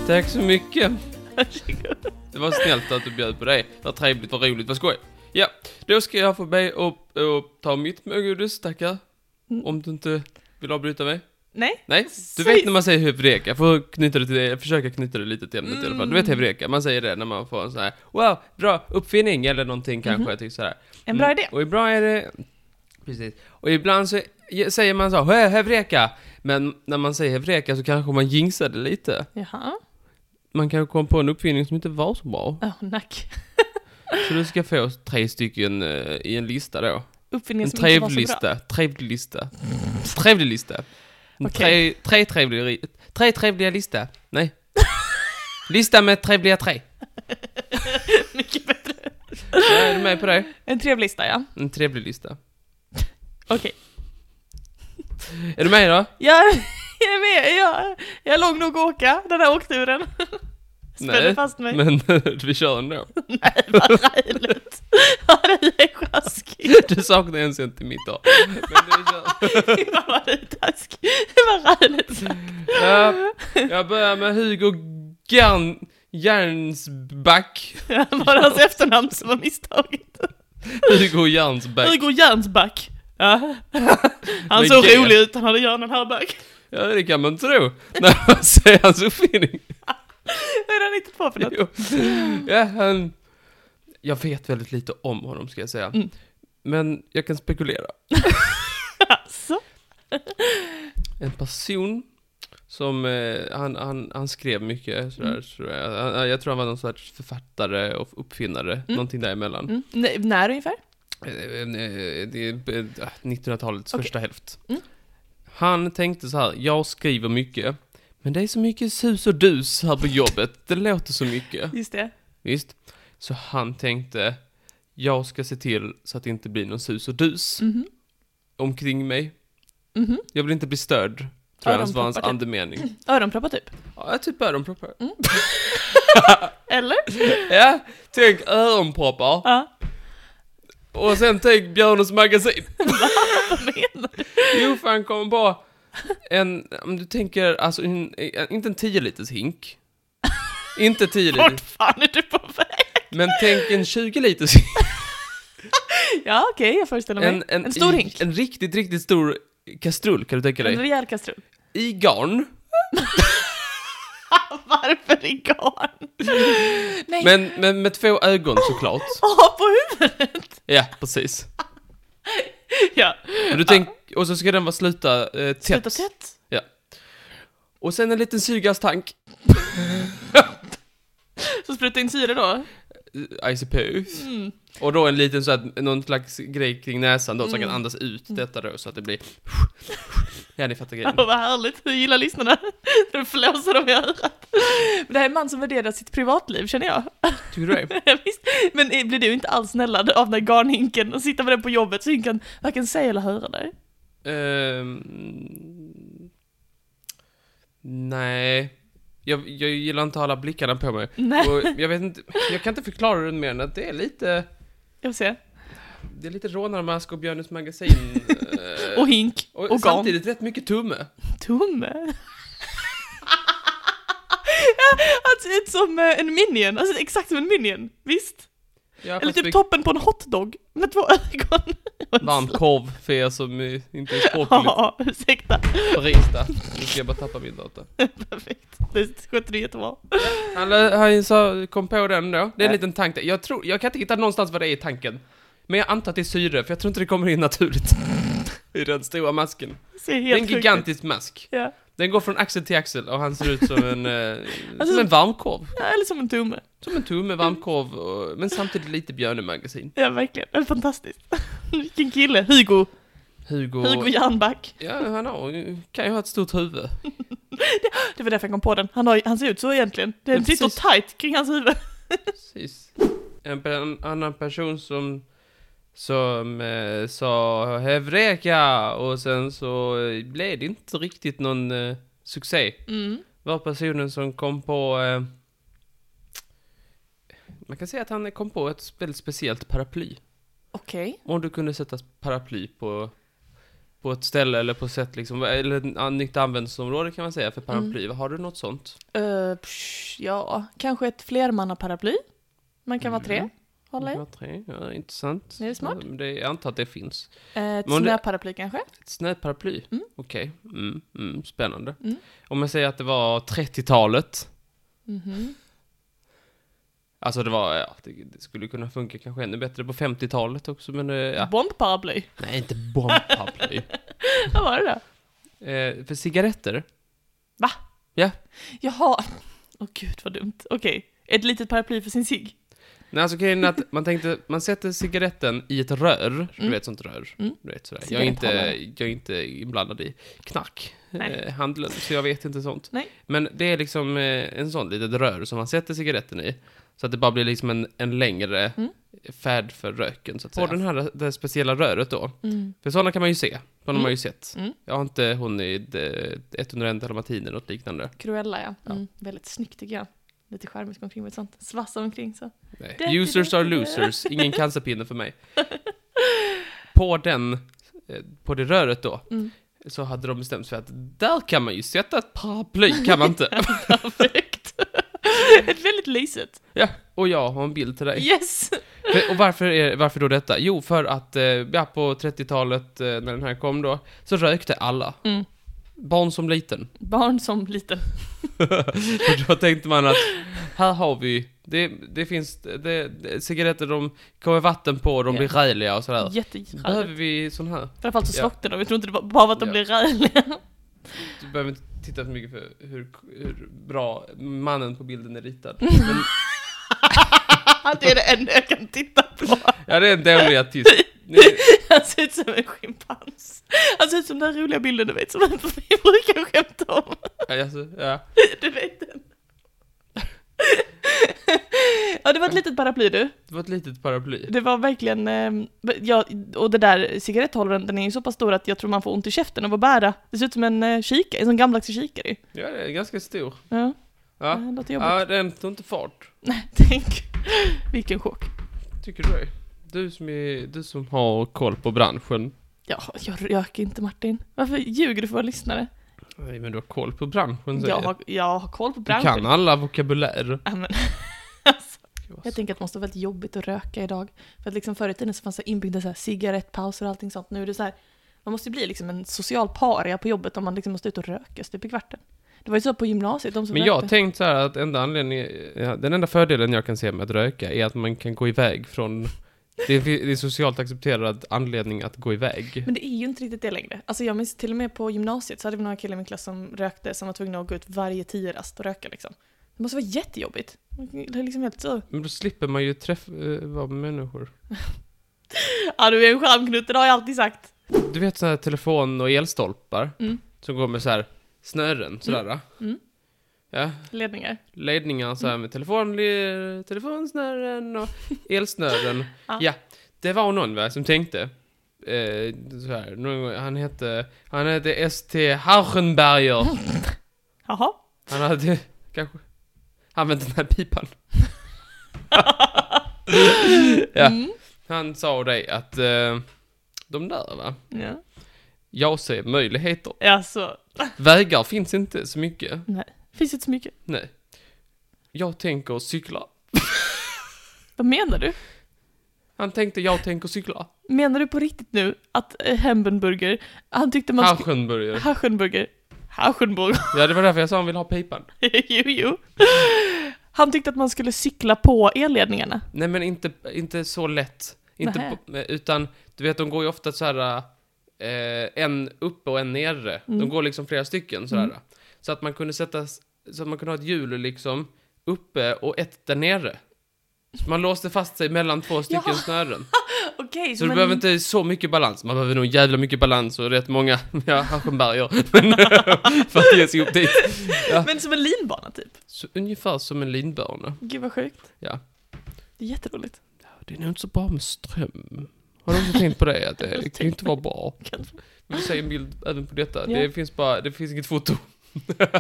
Speaker 2: Tack så mycket. Det var snällt att du bjöd på det. Vad trevligt, vad roligt, vad skoj. Ja, då ska jag få be och, och ta mitt godis, tackar.
Speaker 1: Mm.
Speaker 2: Om du inte vill avbryta mig.
Speaker 1: Nej,
Speaker 2: Nej, du
Speaker 1: Säg-
Speaker 2: vet när man säger hebreka, jag får knyta det till det, jag försöker knyta det lite till ämnet i alla fall. Du vet
Speaker 1: Mm.
Speaker 2: hebreka, man säger det när man får en sån här, wow, bra uppfinning eller någonting kanske,
Speaker 1: Mhm.
Speaker 2: jag tycker så här.
Speaker 1: en bra
Speaker 2: Mm.
Speaker 1: idé.
Speaker 2: Och ibland är det... Precis. Och ibland så säger man så, "Hö, hebreka. Men när man säger hebreka så kanske man jinxar det lite.
Speaker 1: Jaha,
Speaker 2: Man kanske kom på en uppfinning som inte var så bra.
Speaker 1: oh, nack.
Speaker 2: Så du ska få tre stycken eh, i en lista då.
Speaker 1: Uppfinningen
Speaker 2: En
Speaker 1: som inte var
Speaker 2: trevlig
Speaker 1: så bra.
Speaker 2: lista, trevlig lista. Trevlig lista. En
Speaker 1: Mm. Okej.
Speaker 2: Tre, tre, trevliga, ri- tre trevliga lista. Nej. lista med trevliga tre.
Speaker 1: Mycket bättre.
Speaker 2: Är du med på det?
Speaker 1: En trevlig lista ja.
Speaker 2: En trevlig lista.
Speaker 1: Okej.
Speaker 2: Är du med då?
Speaker 1: Jag, jag är med, jag, jag är lång nog att åka den här åkturen. Spänner
Speaker 2: Nej,
Speaker 1: fast mig.
Speaker 2: Men vi kör ändå.
Speaker 1: Nej, vad räligt. Ja, du är sjaskig.
Speaker 2: Du saknar en centimeter. Men det kör.
Speaker 1: Fan, Vad du är taskig. Vad räligt.
Speaker 2: Ja, jag börjar med Hugo Gern... Jernsback.
Speaker 1: Det var hans efternamn som var misstaget.
Speaker 2: Hugo Jernsback.
Speaker 1: Hugo Jernsback. Ja. Han
Speaker 2: Med
Speaker 1: såg
Speaker 2: G.
Speaker 1: rolig ut, han hade hjärnan här bak.
Speaker 2: Ja, det kan man tro. När man ser hans uppfinning.
Speaker 1: Vad är det han hittat på för något?
Speaker 2: Jo. Ja, han... Jag vet väldigt lite om honom, ska jag säga.
Speaker 1: Mm.
Speaker 2: Men jag kan spekulera.
Speaker 1: Alltså.
Speaker 2: En person som... Eh, han, han, han skrev mycket, sådär,
Speaker 1: Mm.
Speaker 2: tror jag. Han- han- jag tror han var någon sorts författare och uppfinnare, någonting däremellan.
Speaker 1: Mm. Nej, när ungefär?
Speaker 2: Eh, eh, det är, eh, 1900-talets
Speaker 1: Mm. Okej.
Speaker 2: första hälft.
Speaker 1: Mm.
Speaker 2: Han tänkte så här, jag skriver mycket, men det är så mycket sus och dus här på jobbet. Det låter så mycket.
Speaker 1: Just det.
Speaker 2: Visst? Så han tänkte, jag ska se till så att det inte blir någon sus och dus
Speaker 1: Mhm.
Speaker 2: omkring mig.
Speaker 1: Mhm.
Speaker 2: Jag vill inte bli störd. Tror jag var hans
Speaker 1: Öronproppar typ.
Speaker 2: andemening.
Speaker 1: Öronproppar typ.
Speaker 2: Ja, typ öronproppar.
Speaker 1: Eller?
Speaker 2: Ja, tänk öronproppar.
Speaker 1: Ja.
Speaker 2: Och sen tänk Björnes magasin.
Speaker 1: Vad menar du?
Speaker 2: Jo, fan kom på en, om du tänker, alltså en, en, inte en 10 liters hink. Inte 10
Speaker 1: Vart
Speaker 2: liters,
Speaker 1: fan är du Mm. på väg?
Speaker 2: men tänk en 20 liters hink.
Speaker 1: Ja okej, jag föreställer mig. En, stor hink.
Speaker 2: En riktigt, riktigt stor kastrull kan du tänka
Speaker 1: En
Speaker 2: dig.
Speaker 1: rejäl kastrull.
Speaker 2: I garn.
Speaker 1: Varför i garn? Nej, Men...
Speaker 2: Men, men med två ögon såklart.
Speaker 1: på huvudet!
Speaker 2: Ja, precis.
Speaker 1: Ja.
Speaker 2: Och, du tänk, och så ska den vara sluta eh, tätt.
Speaker 1: Sluta tätt.
Speaker 2: Och sen en liten syrgastank.
Speaker 1: Så spruta in syre då.
Speaker 2: Eh, ICP.
Speaker 1: Mm.
Speaker 2: Och då en liten så att någon slags grej kring näsan då så
Speaker 1: Mm.
Speaker 2: kan andas ut detta då så att det blir... Ja, ni fattar
Speaker 1: Ja,
Speaker 2: grejen.
Speaker 1: vad härligt, jag gillar lyssnarna. Nu flåsar de i örat. Men det här är en man som värderar sitt privatliv känner jag.
Speaker 2: Tycker du det?
Speaker 1: Ja, Visst. Men eh, blir du inte alls snällad av den här garnhinken och sitta med den på jobbet så hinken varken säga eller höra dig?
Speaker 2: Ehm, nej. Jag, jag gillar inte alla blickarna på mig.
Speaker 1: Nej,
Speaker 2: Och jag vet inte, jag kan inte förklara det mer än att det är lite...
Speaker 1: jag får se.
Speaker 2: det är lite rå närmask och Björnes magasin. eh,
Speaker 1: Och hink.
Speaker 2: och
Speaker 1: Och, och garn.
Speaker 2: samtidigt rätt mycket tumme.
Speaker 1: Tumme. Han ser ut som eh, en minion, alltså exakt som en minion. Visst?
Speaker 2: Ja,
Speaker 1: Eller
Speaker 2: fast
Speaker 1: typ
Speaker 2: vi-
Speaker 1: toppen på en hotdog med två ögon. Och en
Speaker 2: Varm
Speaker 1: sladd.
Speaker 2: korv för er som eh, inte är språkligt
Speaker 1: Ja, ursäkta.
Speaker 2: Parista. Nu ska jag bara tappa min dator.
Speaker 1: Perfekt. Det skötte du jättebra.
Speaker 2: Han, han sa, kom på den då. Det är
Speaker 1: Ja.
Speaker 2: en liten tank där. Jag, tror, jag kan inte hitta någonstans vad det är i tanken. Men jag antar att det är syre, för jag tror inte det kommer in naturligt. I den stora masken.
Speaker 1: Det ser
Speaker 2: Det är en
Speaker 1: helt sjukt ut.
Speaker 2: gigantisk mask.
Speaker 1: Ja.
Speaker 2: Den går från axel till axel och han ser ut som en, eh,
Speaker 1: Alltså-
Speaker 2: som en varmkorv.
Speaker 1: Ja, Eller som en tumme.
Speaker 2: Som en tumme varmkorv, och, men samtidigt lite björnemagasin.
Speaker 1: Ja, verkligen. Det är fantastiskt. Vilken kille. Hugo.
Speaker 2: Hugo...
Speaker 1: Hugo Jernback.
Speaker 2: Ja, han har, kan ju ha ett stort huvud.
Speaker 1: Det var därför jag kom på den. Han, har, han ser ut så egentligen. Den
Speaker 2: Ja,
Speaker 1: sitter
Speaker 2: precis.
Speaker 1: tight kring hans huvud.
Speaker 2: Precis. En, pe- en annan person som som eh, sa Hevreka och sen så eh, blev det inte riktigt någon eh, succé.
Speaker 1: Mm.
Speaker 2: Var personen som kom på eh, man kan säga att han kom på ett väldigt speciellt paraply.
Speaker 1: Okej.
Speaker 2: Om du kunde sätta paraply på på ett ställe eller på ett sätt liksom, eller ett an- nytt användningsområde kan man säga för paraply.
Speaker 1: Mm.
Speaker 2: Har du något sånt?
Speaker 1: Eh, psh, ja, kanske ett flermannaparaply. Man kan vara tre.
Speaker 2: Mm.
Speaker 1: Hålla i.
Speaker 2: Ja, tre. Ja, intressant.
Speaker 1: Är det smart?
Speaker 2: Ja, men det, jag antar att det finns.
Speaker 1: Eh, Ett
Speaker 2: Men om det-
Speaker 1: snöparaply kanske.
Speaker 2: Ett snöparaply?
Speaker 1: Mm.
Speaker 2: Okej, mm, mm, spännande.
Speaker 1: Mm.
Speaker 2: Om jag säger att det var 30-talet,
Speaker 1: Mhm.
Speaker 2: alltså det var, ja, det, det skulle kunna funka kanske ännu bättre på 50-talet också, men eh, ja.
Speaker 1: Bombparaply.
Speaker 2: Nej, inte bombparaply.
Speaker 1: Vad var det då?
Speaker 2: eh, för cigaretter?
Speaker 1: Jaha. Åh gud vad dumt. Okej. Ett litet paraply för sin cigg.
Speaker 2: Nej, alltså grejen är att man tänkte, man sätter cigaretten i ett rör, du
Speaker 1: Mm.
Speaker 2: vet sånt rör,
Speaker 1: Mm.
Speaker 2: du vet sådär. Jag är, inte,
Speaker 1: Cigaretthållare.
Speaker 2: jag är inte inblandad i knark.
Speaker 1: Nej.
Speaker 2: Eh, handeln, så jag vet inte sånt.
Speaker 1: Nej.
Speaker 2: Men det är liksom eh, en sån litet rör som man sätter cigaretten i. Så att det bara blir liksom en, en längre
Speaker 1: Mm.
Speaker 2: färd för röken så att
Speaker 1: På
Speaker 2: säga. På den här, det här speciella röret då. För sådana kan man ju se. Sådana har man ju sett.
Speaker 1: Mm.
Speaker 2: Jag har inte eh, hon i de- 101 dalmatiner något liknande.
Speaker 1: Cruella ja.
Speaker 2: Ja.
Speaker 1: Mm. Väldigt snyggt tycker jag. Lite charmigt omkring med ett sånt. Svassa omkring så.
Speaker 2: Nej. Users are losers. Ingen cancerpinne för mig. På den, eh, på det röret då,
Speaker 1: Mm.
Speaker 2: så hade de bestämt sig för att där kan man ju sätta ett paraply, kan man inte?
Speaker 1: Perfekt. ett väldigt lyset.
Speaker 2: ja, och jag har en bild till dig.
Speaker 1: Yes!
Speaker 2: För- Och varför, är, varför då detta? Jo, för att eh, ja, på 30-talet eh, när den här kom då, så rökte alla.
Speaker 1: Mm.
Speaker 2: Barn som liten.
Speaker 1: Barn som liten.
Speaker 2: Och då tänkte man att här har vi, det, det finns det, det, cigaretter, de kommer vatten på, de
Speaker 1: Ja.
Speaker 2: blir räliga och sådär. Behöver
Speaker 1: Jättecharmigt.
Speaker 2: vi sån här?
Speaker 1: Framförallt så
Speaker 2: Ja.
Speaker 1: slocknar de. Jag tror inte det var bara att de
Speaker 2: Ja.
Speaker 1: blir räliga.
Speaker 2: Du behöver inte titta för mycket för hur, hur bra mannen på bilden är ritad. Men,
Speaker 1: det är det enda jag kan titta på.
Speaker 2: ja, det är en dålig artist. Nu-
Speaker 1: Han ser ut som en schimpans. Han ser ut som den där roliga bilden du vet, som vi brukar skämta om.
Speaker 2: ja, Alltså, ja.
Speaker 1: Du vet den. Ja, det var ett litet paraply du.
Speaker 2: Det var ett litet paraply.
Speaker 1: Det var verkligen, eh, ja, och det där cigaretthållaren, den är ju så pass stor att jag tror man får ont i käften av att bära. Det ser ut som en eh, kikare, en sån gammaldags kikare ju.
Speaker 2: Ja, det är ganska stor.
Speaker 1: Ja,
Speaker 2: Ja.
Speaker 1: det låter Mm, jobbigt.
Speaker 2: Ja, den tog inte fart.
Speaker 1: Nej, tänk. Vilken chock.
Speaker 2: Tycker du det? Du som, är, du som har koll på branschen.
Speaker 1: Ja, jag röker inte Martin. Varför ljuger du för våra lyssnare?
Speaker 2: Nej, men du har koll på branschen säger
Speaker 1: Mm. Jag har, jag har koll på
Speaker 2: Du
Speaker 1: branschen.
Speaker 2: kan alla vokabulär.
Speaker 1: Ja, men, jag tänker att det måste vara väldigt jobbigt att röka idag. För att liksom förr i tiden så fanns det inbyggda så här cigarettpauser och allting sånt. Nu är det så här, man måste ju bli liksom en social paria på jobbet om man liksom måste ut och röka stup i kvarten. Det var ju så på gymnasiet, de som
Speaker 2: Men jag har
Speaker 1: rökte.
Speaker 2: tänkt så här att enda anledningen, ja, den enda fördelen jag kan se med att röka är att man kan gå iväg från det är, det är socialt accepterad anledning att gå iväg.
Speaker 1: Men det är ju inte riktigt det längre. Alltså jag minns till och med på gymnasiet så hade vi några killar i min klass som rökte som var tvungna att gå ut varje tio rast och röka liksom. Det måste vara jättejobbigt. Det är liksom helt så.
Speaker 2: Men då slipper man ju träffa, eh, vara med människor.
Speaker 1: Ja du är en charmknutte, det har jag alltid sagt.
Speaker 2: Du vet sådana här telefon och elstolpar
Speaker 1: Mm.
Speaker 2: som går med så här snören sådär. va?
Speaker 1: Mm.
Speaker 2: Ja,
Speaker 1: Ledningar.
Speaker 2: ledningar så här med telefon, telefonsnören och elsnören.
Speaker 1: Ja.
Speaker 2: ja. det var någon va, som tänkte. Eh, så här, någon, gång- han hette, han hette ST Hauchenberger.
Speaker 1: Jaha.
Speaker 2: Han hade kanske använt den här pipan. ja. Han sa dig att eh, de där va,
Speaker 1: Ja.
Speaker 2: jag ser möjligheter.
Speaker 1: ja, så.
Speaker 2: Vägar finns inte så mycket,
Speaker 1: Finns inte så mycket.
Speaker 2: nej. Jag tänker cykla.
Speaker 1: Vad menar du?
Speaker 2: Han tänkte jag tänker cykla.
Speaker 1: Menar du på riktigt nu att eh, Hembenburger, han tyckte man skulle...
Speaker 2: Haschenburger.
Speaker 1: Haschenburger. Haschenburger.
Speaker 2: Ja det var därför jag sa han vill ha pipan.
Speaker 1: jo, jo. Han tyckte att man skulle cykla på elledningarna.
Speaker 2: Nej men inte, inte så lätt. Inte
Speaker 1: Nähä.
Speaker 2: på, eh, utan, du vet de går ju ofta så här eh, en uppe och en nere. De
Speaker 1: Mm.
Speaker 2: går liksom flera stycken sådär.
Speaker 1: Mm.
Speaker 2: Så att man kunde sätta, s- så att man kunde ha ett hjul liksom uppe och ett där nere. Så man låste fast sig mellan två stycken
Speaker 1: Ja.
Speaker 2: snören.
Speaker 1: Okej,
Speaker 2: Så du behöver inte så mycket balans. Man behöver nog jävla mycket balans och rätt många ja, haschenberger. Men, för att ge sig upp dit.
Speaker 1: Men som en linbana typ.
Speaker 2: Så ungefär som en linbana.
Speaker 1: Gud vad sjukt.
Speaker 2: Ja.
Speaker 1: Det är jätteroligt.
Speaker 2: Det är nog inte så bra med ström. Har du också tänkt på det? Att det kan ju inte vara bra. Vi vill se en bild även på detta.
Speaker 1: Ja.
Speaker 2: Det finns bara, det finns inget foto. Det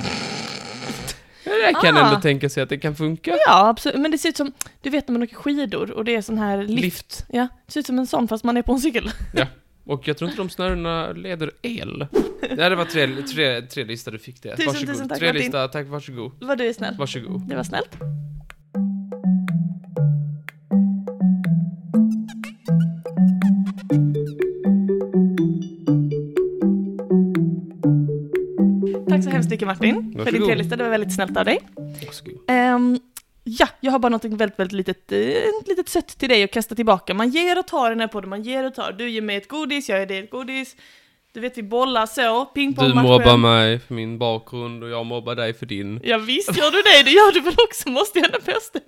Speaker 2: kan
Speaker 1: Ah.
Speaker 2: ändå tänka sig att det kan funka.
Speaker 1: Ja, absolut. Men det ser ut som, du vet när man åker skidor och det är sån här lift.
Speaker 2: Lift.
Speaker 1: Ja, det ser ut som en sån fast man är på en cykel.
Speaker 2: Och jag tror inte de snörena leder el. Nej, det var tre, tre, tre lista du fick det.
Speaker 1: Tusen,
Speaker 2: varsågod.
Speaker 1: tusen tack,
Speaker 2: tre
Speaker 1: Martin.
Speaker 2: lista, tack, varsågod.
Speaker 1: Vad du är snäll.
Speaker 2: Varsågod.
Speaker 1: Det var snällt. Tack så hemskt mycket Martin för din
Speaker 2: Varsågod.
Speaker 1: trevliga lista. Det var väldigt snällt av dig.
Speaker 2: varsågod.
Speaker 1: Ehm, ja, jag har bara något väldigt, väldigt litet, eh, ett litet sött till dig att kasta tillbaka. Man ger och tar i den här podden, man ger och tar. Du ger mig ett godis, jag ger dig ett godis. Du vet, vi bollar så,
Speaker 2: Du
Speaker 1: pingpongmatchen.
Speaker 2: mobbar mig för min bakgrund och jag mobbar dig för din.
Speaker 1: Ja, visst gör du det, det gör du väl också, måste jag ändå påstå.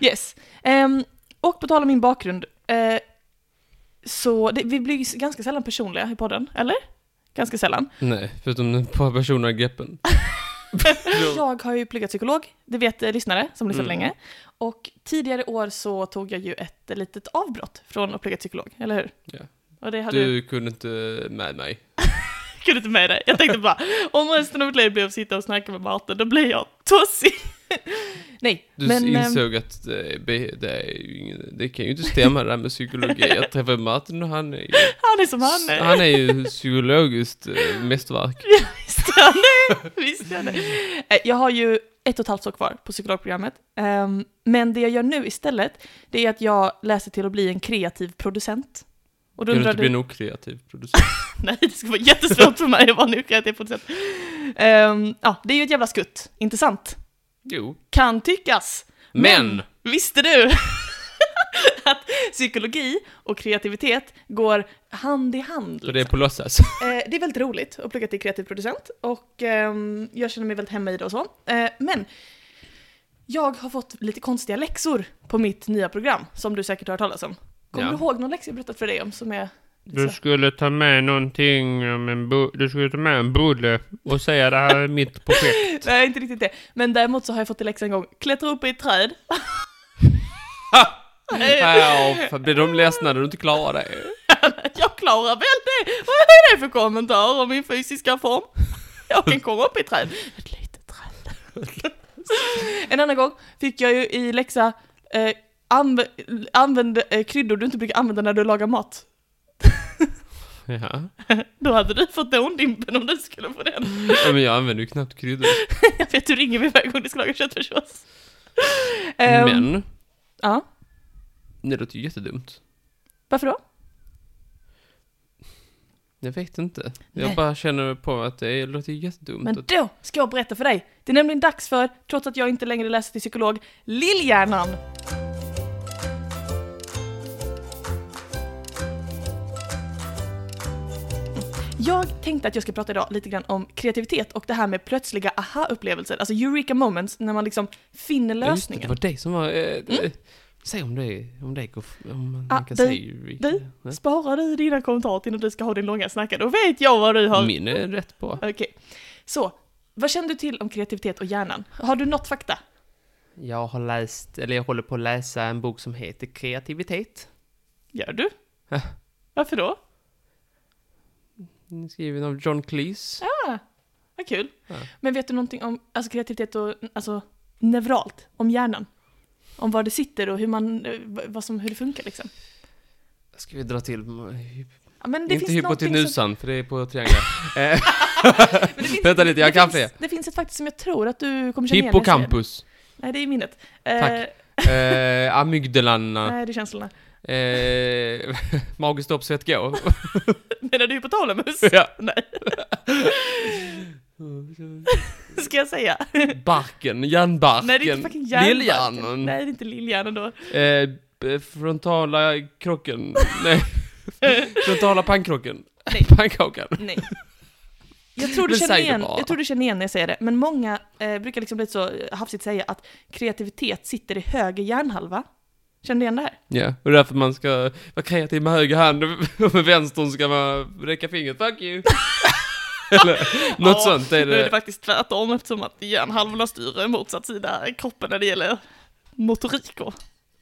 Speaker 1: Yes. Ehm, och på tal om min bakgrund, eh, så det, vi blir ju s- ganska sällan personliga i podden, eller? Ganska sällan.
Speaker 2: Nej, förutom den på personerna i greppen.
Speaker 1: Jag har ju pluggat psykolog, det vet eh, lyssnare som lyssnat
Speaker 2: Mm.
Speaker 1: länge. Och tidigare år så tog jag ju ett eh, litet avbrott från att plugga psykolog, eller hur?
Speaker 2: Ja.
Speaker 1: Och det hade du...
Speaker 2: Du kunde inte med mig.
Speaker 1: kunde inte med dig. Jag tänkte bara, om resten av mitt liv blev att sitta och snacka med Martin, då blir jag tossig. Nej,
Speaker 2: Du
Speaker 1: ehm,
Speaker 2: insåg att det, be- det, är ju ingen, det kan ju inte stämma det där med psykologi. Jag träffade Martin och han är ju,
Speaker 1: han är som han är.
Speaker 2: han är ju psykologiskt eh, mästerverk.
Speaker 1: Visst är han det? Visst är han det?
Speaker 2: Mm.
Speaker 1: Eh, Jag har ju ett och ett halvt år kvar på psykologprogrammet. Ehm, Men det jag gör nu istället, det är att jag läser till att bli en kreativ producent. Och då
Speaker 2: Kan du
Speaker 1: undrar
Speaker 2: inte
Speaker 1: du,
Speaker 2: bli en okreativ producent?
Speaker 1: nej det skulle vara jättesvårt för mig att vara en kreativ producent. Ehm, ja, det är ju ett jävla skutt, inte sant?
Speaker 2: Jo.
Speaker 1: Kan tyckas.
Speaker 2: Men!
Speaker 1: Visste du att psykologi och kreativitet går hand i hand?
Speaker 2: Så det är på låtsas.
Speaker 1: Eh, det är väldigt roligt att plugga till kreativ producent och ehm, jag känner mig väldigt hemma i det och så. Eh, men jag har fått lite konstiga läxor på mitt nya program som du säkert har hört talas om. Kommer
Speaker 2: Ja.
Speaker 1: du ihåg någon läxa jag berättat för dig om som är...
Speaker 3: Du skulle ta med någonting om en bu- Du skulle ta med en bulle och säga det här är mitt projekt.
Speaker 1: Nej, inte riktigt det. Men däremot så har jag fått en läxa en gång. Klättra upp i ett träd.
Speaker 2: Ja, fan, blir de ledsna när du inte klarar det?
Speaker 1: Jag klarar väl det! Vad är det för kommentar om min fysiska form? Jag kan komma upp i ett träd. Ett litet träd. En annan gång fick jag ju i läxa eh, anv använd eh, kryddor du inte brukar använda när du lagar mat.
Speaker 2: Ja.
Speaker 1: Då hade du fått dåndimpen om du skulle få den.
Speaker 2: ja men jag använder ju knappt kryddor.
Speaker 1: Jag vet, du ringer mig varje gång du ska laga köttfärssås. Ehm,
Speaker 2: Men,
Speaker 1: Ja,
Speaker 2: det låter ju jättedumt.
Speaker 1: varför då?
Speaker 2: Jag vet inte.
Speaker 1: Nej.
Speaker 2: Jag bara känner på att det låter ju jättedumt.
Speaker 1: Men
Speaker 2: att-
Speaker 1: då ska jag berätta för dig. Det är nämligen dags för, trots att jag inte längre läser till psykolog, Lillhjärnan. Jag tänkte att jag ska prata idag lite grann om kreativitet och det här med plötsliga aha-upplevelser, alltså eureka moments, när man liksom finner
Speaker 2: Ja, just det, Det
Speaker 1: lösningen.
Speaker 2: var det som var... Eh, eh, Säg om det, om det går... f- Om man
Speaker 1: Ah,
Speaker 2: kan
Speaker 1: du-
Speaker 2: säga...
Speaker 1: du, Spara du dina kommentarer till när du ska ha din långa snacka, då vet jag vad du har...
Speaker 2: Min är rätt bra.
Speaker 1: Okej. Så, vad känner du till om kreativitet och hjärnan? Har du något fakta?
Speaker 2: Jag har läst, eller jag håller på att läsa en bok som heter Kreativitet.
Speaker 1: Gör du?
Speaker 2: Ja.
Speaker 1: Varför då?
Speaker 2: Den är Skriven av John Cleese.
Speaker 1: Vad kul.
Speaker 2: Ja.
Speaker 1: Men vet du någonting om alltså, kreativitet och alltså, neuralt, om hjärnan? om var det sitter och hur, man, eh, vad som, hur det funkar liksom.
Speaker 2: Ska vi dra till?
Speaker 1: Ja, men det
Speaker 2: Inte
Speaker 1: finns någonting som-
Speaker 2: hypotenusan, för det är på trianglar. Eh,
Speaker 1: Men det finns-
Speaker 2: Vänta lite, jag
Speaker 1: det
Speaker 2: har kaffe.
Speaker 1: Finns, det finns ett faktiskt som jag tror att du kommer känna igen. när jag säger det.
Speaker 2: Hippocampus.
Speaker 1: Nej, det är minnet.
Speaker 2: Tack. Eh, amygdalan.
Speaker 1: nej, det är känslorna.
Speaker 2: Eh, Magestoppsvett gå.
Speaker 1: Menar du hypotalamus?
Speaker 2: Ja.
Speaker 1: Nej, Mm. ska jag säga?
Speaker 2: Barken, hjärnbarken.
Speaker 1: Nej, det är inte fucking hjärnan.
Speaker 2: Lillhjärnan.
Speaker 1: Nej, det är inte lillhjärnan då.
Speaker 2: Eh, b- frontala krocken. Nej. frontala pannkrocken.
Speaker 1: Nej.
Speaker 2: Pannkakan.
Speaker 1: Nej. Jag tror, du
Speaker 2: Men
Speaker 1: känner
Speaker 2: säg det
Speaker 1: igen,
Speaker 2: bara.
Speaker 1: jag tror du känner igen när jag säger det, men många eh, brukar liksom lite så eh, hafsigt säga att kreativitet sitter i höger hjärnhalva. Känner du igen det här?
Speaker 2: Ja, och därför man ska vara kreativ med höger hand och med vänstern ska man räcka fingret. Fuck you! Eller något
Speaker 1: Ja,
Speaker 2: sånt är
Speaker 1: Nu är det
Speaker 2: det.
Speaker 1: faktiskt tvärtom eftersom att hjärnhalvorna styr en motsatt sida i kroppen när det gäller motorik och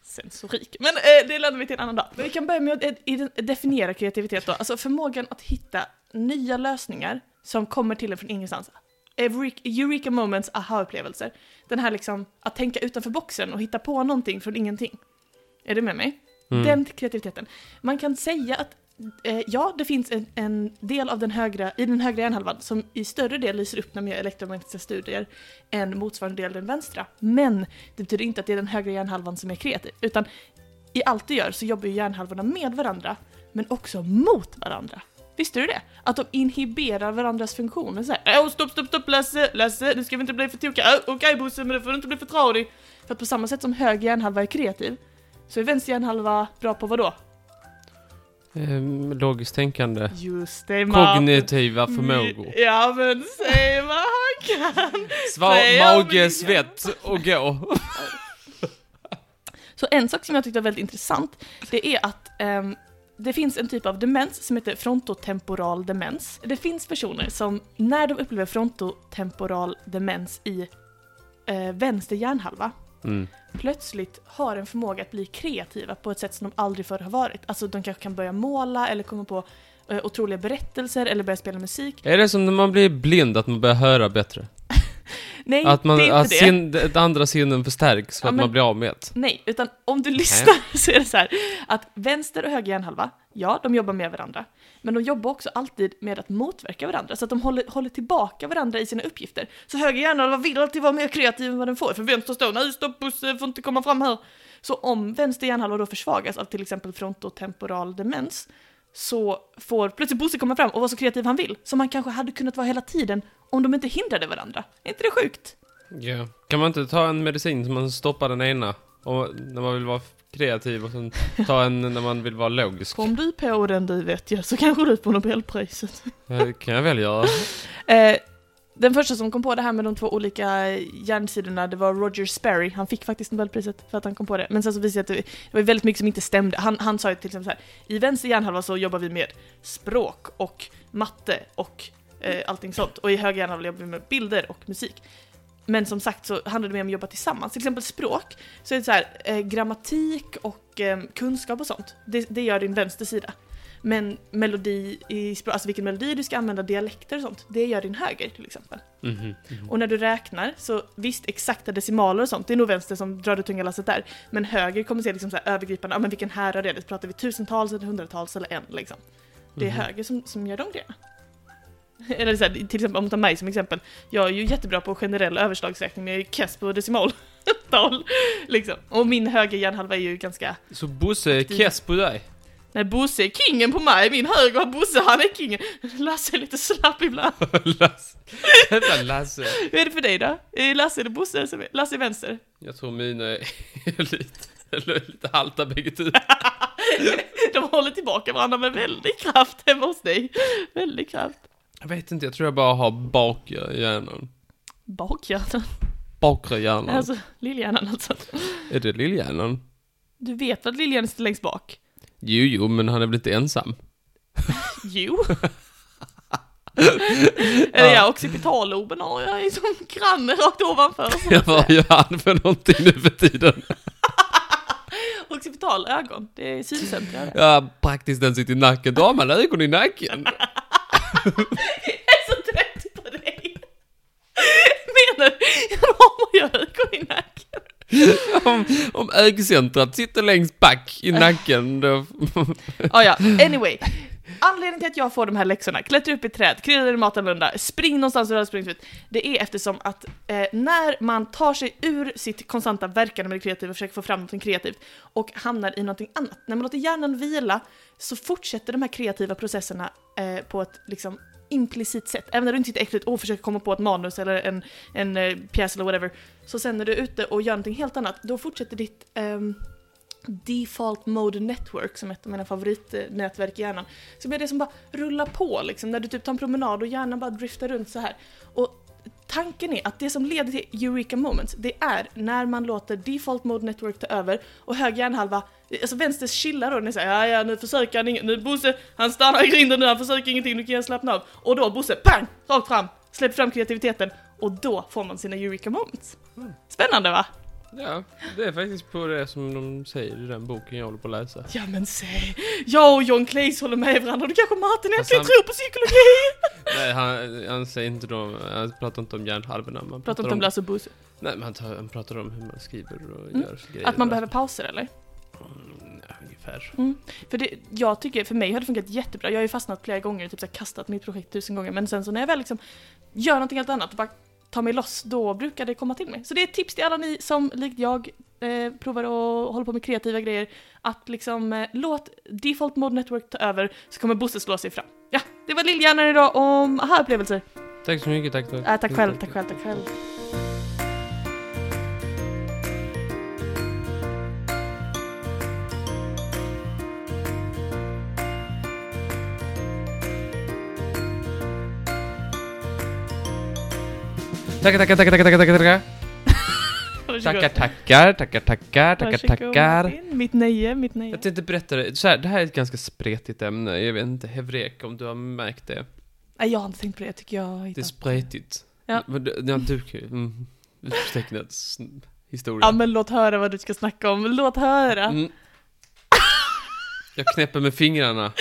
Speaker 1: sensorik. Men eh, det lämnar vi till en annan dag. Men vi kan börja med att eh, ide- definiera kreativitet då. Alltså förmågan att hitta nya lösningar som kommer till en från ingenstans. Eureka- Eureka moments, aha-upplevelser. Den här liksom, att tänka utanför boxen och hitta på någonting från ingenting. Är du med mig?
Speaker 2: Mm.
Speaker 1: Den kreativiteten. Man kan säga att eh, ja, det finns en, en del av den högra, i den högra hjärnhalvan som i större del lyser upp när man gör elektromagnetiska studier än motsvarande del den vänstra. Men det betyder inte att det är den högra hjärnhalvan som är kreativ, utan i allt du gör så jobbar ju hjärnhalvorna med varandra, men också mot varandra. Visste du det? Att de inhiberar varandras funktioner såhär. Åh, oh, stopp, stopp, stopp, Lasse, Lasse, nu ska vi inte bli för tokiga. Åh, Okej Bosse, men du får inte bli för tradig. För att på samma sätt som höger hjärnhalva är kreativ, så är vänster hjärnhalva bra på vad då?
Speaker 2: Ehm, Logiskt tänkande.
Speaker 1: Just det,
Speaker 2: Kognitiva förmågor.
Speaker 1: Ja, men säg vad han kan!
Speaker 2: Svar,
Speaker 1: Nej,
Speaker 2: mage,
Speaker 1: jag-
Speaker 2: svett och gå.
Speaker 1: Så en sak som jag tyckte var väldigt intressant, det är att ehm, det finns en typ av demens som heter frontotemporal demens. Det finns personer som när de upplever frontotemporal demens i eh, vänster hjärnhalva,
Speaker 2: Mm.
Speaker 1: plötsligt har en förmåga att bli kreativa på ett sätt som de aldrig förr har varit. Alltså de kanske kan börja måla eller komma på eh, otroliga berättelser eller börja spela musik.
Speaker 2: Är det som när man blir blind, att man börjar höra bättre?
Speaker 1: Nej,
Speaker 2: Att, man,
Speaker 1: det är inte
Speaker 2: att
Speaker 1: det.
Speaker 2: sin, det andra sinnen förstärks för
Speaker 1: Ja,
Speaker 2: att
Speaker 1: men-
Speaker 2: man blir av med ett.
Speaker 1: Nej, utan om du lyssnar så är det så här att vänster och höger hjärnhalva, ja, de jobbar med varandra. Men de jobbar också alltid med att motverka varandra, så att de håller, håller tillbaka varandra i sina uppgifter. Så höger hjärnhalva vill alltid vara mer kreativ än vad den får, för vänster står nej, stopp, bussen får inte komma fram här. Så om vänster hjärnhalva då försvagas av till exempel frontotemporal demens, så får plötsligt Bosse komma fram och vara så kreativ han vill, som han kanske hade kunnat vara hela tiden om de inte hindrade varandra. Är inte det sjukt?
Speaker 2: Ja. Kan man inte ta en medicin som man stoppar den ena och, när man vill vara kreativ och sen ta en när man vill vara logisk?
Speaker 1: Kom du på den du vet jag, så kanske du får Nobelpriset.
Speaker 2: Det kan jag väl göra.
Speaker 1: Eh, den första som kom på det här med de två olika hjärnsidorna, det var Roger Sperry. Han fick faktiskt Nobelpriset för att han kom på det. Men sen så visade det sig att det det var väldigt mycket som inte stämde. Han, han sa ju till exempel så här, i vänster hjärnhalva så jobbar vi med språk och matte och eh, allting sånt. Och i höger hjärnhalva jobbar vi med bilder och musik. Men som sagt så handlar det mer om att jobba tillsammans. Till exempel språk, så är det så här, eh, grammatik och eh, kunskap och sånt. Det, det gör din vänstersida. Men melodi i språk, alltså vilken melodi du ska använda, dialekter och sånt, det gör din höger till exempel.
Speaker 2: Mhm.
Speaker 1: Och när du räknar, så visst exakta decimaler och sånt, det är nog vänster som drar det tunga lasset där. Men höger kommer se liksom så här övergripande, ja men vilken härad är det? Pratar vi tusentals eller hundratals eller en liksom? Det är
Speaker 2: Mhm.
Speaker 1: höger som, som gör de grejerna. Eller så här, till exempel om du tar mig som exempel, jag är ju jättebra på generell överslagsräkning men jag är ju kass på decimaltal. liksom. Och min höger hjärnhalva är ju ganska
Speaker 2: Så Bosse, kess på dig.
Speaker 1: Nej, Bosse är kingen på mig, min högra Bosse han är kingen. Lasse är lite slapp ibland.
Speaker 2: Lasse. Jävla Lasse.
Speaker 1: Hur är det för dig då? Är Lasse eller Bosse? som är- Lasse är vänster.
Speaker 2: Jag tror mina är lite, eller lite halta bägge tu.
Speaker 1: De håller tillbaka varandra med väldig kraft hemma hos dig. Väldig kraft.
Speaker 2: Jag vet inte, jag tror jag bara har bakre hjärnan.
Speaker 1: Bakhjärnan,
Speaker 2: Bakre hjärnan.
Speaker 1: alltså lillhjärnan alltså.
Speaker 2: Är det lillhjärnan?
Speaker 1: Du vet att lillhjärnan sitter längst bak?
Speaker 2: Jo, jo, men han är väl inte ensam?
Speaker 1: Jo. Eller ja, occipitaloben har jag ju som granne rakt ovanför. så
Speaker 2: Ja,
Speaker 1: att säga.
Speaker 2: vad gör han för någonting nu för tiden?
Speaker 1: Occipitalögon, det är syncentra det.
Speaker 2: Ja, praktiskt den sitter i nacken. Då har man ögon i nacken.
Speaker 1: Jag är så trött på dig! Menar du? Jag har ju ögon i nacken.
Speaker 2: om, om ögcentrat sitter längst bak i nacken. Då,
Speaker 1: Ah, ja, anyway. Anledningen till att jag får de här läxorna, klättra upp i träd, krydda i matanlunda, spring någonstans där du har sprungit ut. Det är eftersom att eh, när man tar sig ur sitt konstanta verkande med det kreativa och försöker få fram något kreativt och hamnar i någonting annat, när man låter hjärnan vila så fortsätter de här kreativa processerna eh, på ett liksom implicit sätt. Även när du inte sitter äckligt och försöker komma på ett manus eller en, en eh, pjäs eller whatever. Så sen när du är ute och gör någonting helt annat, då fortsätter ditt ehm, Default Mode Network som är ett av mina favoritnätverk i hjärnan. Som är det som bara rullar på liksom, när du typ tar en promenad och hjärnan bara driftar runt så här. Och tanken är att det som leder till Eureka Moments, det är när man låter Default Mode Network ta över och höger hjärnhalva, alltså vänster chillar då, den är såhär ja ja nu försöker han ingenting, nu Bosse, han stannar i grinden nu, han försöker ingenting, nu kan jag slappna av. Och då Bosse, pang! Rakt fram! Släpp fram kreativiteten och då får man sina Eureka Moments.
Speaker 2: Mm.
Speaker 1: Spännande va?
Speaker 2: ja, det är faktiskt på det som de säger i den boken jag håller på att läsa.
Speaker 1: Ja men säg, jag och John Claes håller med varandra, då kanske Martin äntligen
Speaker 2: han-
Speaker 1: tror på psykologi!
Speaker 2: Nej, han, han säger inte då, han pratar inte om hjärnhalvorna. Man
Speaker 1: Pratar inte om Lasse och Bosse.
Speaker 2: Nej, men han, tar, han pratar om hur man skriver och
Speaker 1: Mm.
Speaker 2: gör grejer.
Speaker 1: Att man behöver pauser eller?
Speaker 2: Mm, ja, ungefär.
Speaker 1: För det, jag tycker, för mig har det funkat jättebra, jag har ju fastnat flera gånger, typ så här, kastat mitt projekt tusen gånger, men sen så när jag väl liksom gör någonting helt annat och bara tar mig loss, då brukar det komma till mig. Så det är ett tips till alla ni som likt jag eh, provar och håller på med kreativa grejer, att liksom eh, låt Default Mode Network ta över, så kommer Bosse slå sig fram. Ja, det var Lillhjärnan idag om aha-upplevelser.
Speaker 2: Tack så mycket, tack.
Speaker 1: Äh, tack själv, tack själv, tack själv.
Speaker 2: Tackar, tackar, tackar, tackar, tackar, tackar.
Speaker 1: Varsågod.
Speaker 2: Tackar, tackar, tackar, tackar, tackar,
Speaker 1: Varsågod,
Speaker 2: tackar.
Speaker 1: Martin. Mitt nöje, mitt nöje.
Speaker 2: Jag tänkte berätta det. Så här, det här är ett ganska spretigt ämne. Jag vet inte, Hevrek, om du har märkt det.
Speaker 1: Nej, jag har inte tänkt på det. Jag tycker jag har
Speaker 2: Det är
Speaker 1: hittat.
Speaker 2: spretigt.
Speaker 1: Ja.
Speaker 2: Men det- ja, du kan ju... Mm, Utstecknad historia.
Speaker 1: Ja, men låt höra vad du ska snacka om. Låt höra.
Speaker 2: Mm. Jag knäpper med fingrarna.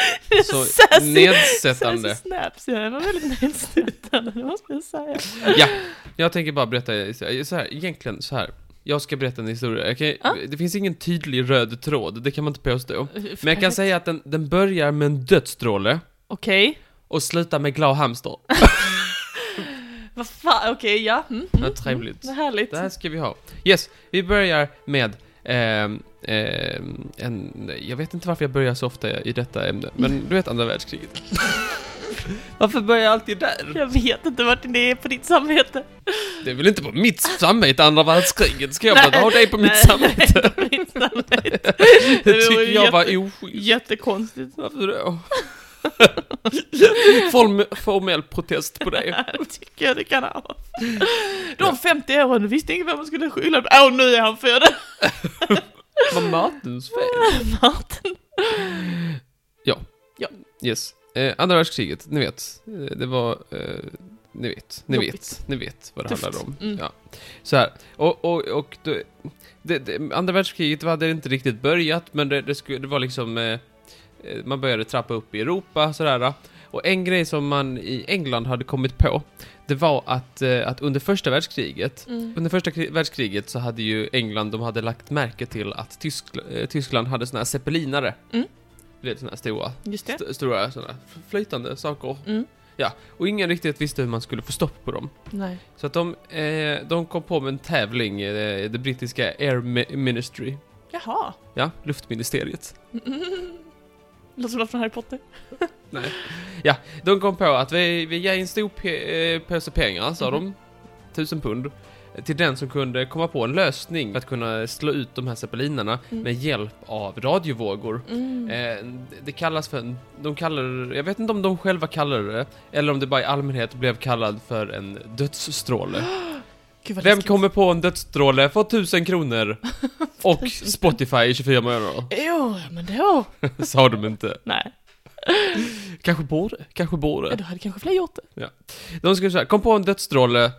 Speaker 2: Så
Speaker 1: Sassy-
Speaker 2: nedsättande.
Speaker 1: Sassy Snaps, ja. Det var väldigt nedsättande, det måste jag säga.
Speaker 2: Ja, jag tänker bara berätta så här, egentligen så här. Jag ska berätta en historia. Jag kan,
Speaker 1: Ja.
Speaker 2: Det finns ingen tydlig röd tråd, det kan man inte påstå. Men jag kan
Speaker 1: Perfekt.
Speaker 2: säga att den, den börjar med en dödsstråle
Speaker 1: Okej.
Speaker 2: och slutar med glad hamster.
Speaker 1: Vad fan, okej, ja. Mm. mm,
Speaker 2: Vad trevligt.
Speaker 1: mm. Vad härligt.
Speaker 2: Det här ska vi ha. Yes, vi börjar med ehm, ehm, en, jag vet inte varför jag börjar så ofta i detta ämne, men du vet andra världskriget. varför börjar jag alltid där?
Speaker 1: Jag vet inte vart det är på ditt samvete.
Speaker 2: Det är väl inte på mitt samvete, andra världskriget? Ska jag
Speaker 1: Nej,
Speaker 2: bara ha dig på mitt
Speaker 1: nej,
Speaker 2: samvete?
Speaker 1: nej, på mitt samvete.
Speaker 2: Det
Speaker 1: Det var
Speaker 2: tycker jag var
Speaker 1: jätte-
Speaker 2: oschysst.
Speaker 1: Jättekonstigt.
Speaker 2: Varför då? Form, formell protest på dig.
Speaker 1: Det tycker jag det kan ha. De 50 åren visste ingen vem man skulle skylla på. Åh, nu är han född!
Speaker 2: Var Martins fel?
Speaker 1: Martin.
Speaker 2: Yes. Eh, andra världskriget, ni vet. Eh, Det var... Eh, ni vet, ni
Speaker 1: Jobbigt.
Speaker 2: vet, ni vet vad det
Speaker 1: Tufft.
Speaker 2: handlar om.
Speaker 1: Mm.
Speaker 2: Ja. Så här. Och, och, och då, det, det, andra världskriget hade inte riktigt börjat, men det, det, skulle, det var liksom... Eh, eh, man började trappa upp i Europa, sådär. eh. Och en grej som man i England hade kommit på, det var att, eh, att under första världskriget
Speaker 1: Mm.
Speaker 2: Under första kri- världskriget så hade ju England, de hade lagt märke till att Tyskl- eh, Tyskland hade såna här zeppelinare.
Speaker 1: Mm.
Speaker 2: Du vet såna här stora,
Speaker 1: Just det.
Speaker 2: st- stora såna f- flytande saker.
Speaker 1: Mm.
Speaker 2: Och ingen riktigt visste hur man skulle få stopp på dem.
Speaker 1: Nej.
Speaker 2: Så att de, eh, de kom på med en tävling, eh, det brittiska Air Mi- Ministry.
Speaker 1: Jaha.
Speaker 2: Ja, luftministeriet.
Speaker 1: Mm. Låter som något från Harry Potter.
Speaker 2: Ja, de kom på att vi, vi ger en stor pe- eh, påse pengar, sa
Speaker 1: Mhm.
Speaker 2: de. Tusen pund. eh, Till den som kunde komma på en lösning för att kunna slå ut de här zeppelinarna
Speaker 1: Mm.
Speaker 2: med hjälp av radiovågor.
Speaker 1: Mm.
Speaker 2: Eh, det kallas för en, de kallar jag vet inte om de själva kallar det, eller om det bara i allmänhet blev kallad för en dödsstråle.
Speaker 1: Gud, vad
Speaker 2: Vem
Speaker 1: läskigt.
Speaker 2: kommer på en dödsstråle för 1000 kronor? Och
Speaker 1: Tusen.
Speaker 2: Spotify i 24 månader?
Speaker 1: Jo, men då.
Speaker 2: Sa de inte.
Speaker 1: Nej,
Speaker 2: Kanske borde, kanske borde.
Speaker 1: då hade kanske fler gjort det.
Speaker 2: De skulle säga, kom på en dödsstråle eh,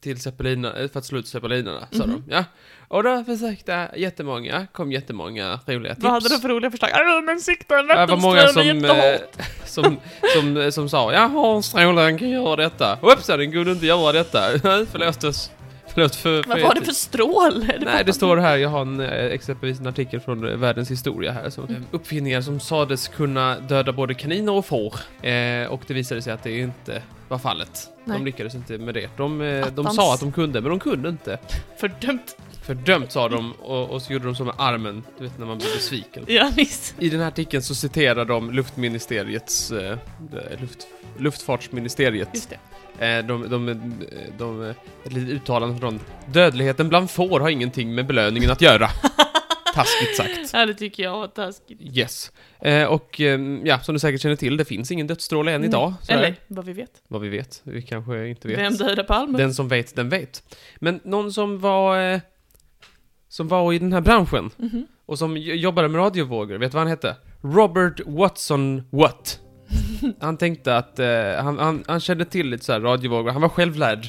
Speaker 2: till Zeppelina, eh, för att slå ut Zeppelinarna, sa
Speaker 1: Mhm.
Speaker 2: de. Ja. Och då försökte jättemånga, kom jättemånga roliga tips.
Speaker 1: Vad hade de för roliga förslag? Ja, men sikta en
Speaker 2: Det var många som,
Speaker 1: vattenstråle
Speaker 2: eh,
Speaker 1: jättehårt.
Speaker 2: som, som, eh, som sa Jaha, strålen kan göra detta. Hoppsan, den kunde inte göra detta. Nej, Förlåt oss. Förlåt för...
Speaker 1: Vad
Speaker 2: för-
Speaker 1: var det för stråle?
Speaker 2: Nej, det står här, jag har en, eh, exempelvis en artikel från eh, Världens historia här. Som,
Speaker 1: Mm.
Speaker 2: eh, uppfinningar som sades kunna döda både kaniner och får. Eh, och det visade sig att det inte var fallet.
Speaker 1: Nej.
Speaker 2: De lyckades inte med det. De, eh, de
Speaker 1: Attans.
Speaker 2: sa att de kunde, men de kunde inte.
Speaker 1: Fördömt.
Speaker 2: Fördömt sa de och, och så gjorde de så med armen, du vet när man blir besviken.
Speaker 1: Ja, visst.
Speaker 2: I den här artikeln så citerar de luftministeriets, eh, eh, luft, luftfartsministeriet.
Speaker 1: Just det.
Speaker 2: Eh, de, de, de, de, eh, ett litet uttalande från dem. Dödligheten bland får har ingenting med belöningen att göra. Taskigt sagt.
Speaker 1: Ja, det tycker jag var taskigt.
Speaker 2: Yes. Eh, och ehm, ja, som du säkert känner till, det finns ingen dödsstråle än
Speaker 1: Nej.
Speaker 2: idag. Så
Speaker 1: Mm. Eller
Speaker 2: Är,
Speaker 1: vad vi vet.
Speaker 2: vad vi vet. Vi kanske inte vet.
Speaker 1: Vem dödade Palme?
Speaker 2: Den som vet, den vet. Men någon som var... Eh, som var i den här branschen.
Speaker 1: Mhm.
Speaker 2: Och som j- jobbade med radiovågor, vet du vad han hette? Robert Watson Watt. Han tänkte att, eh, han, han, han kände till lite så här radiovågor, han var självlärd.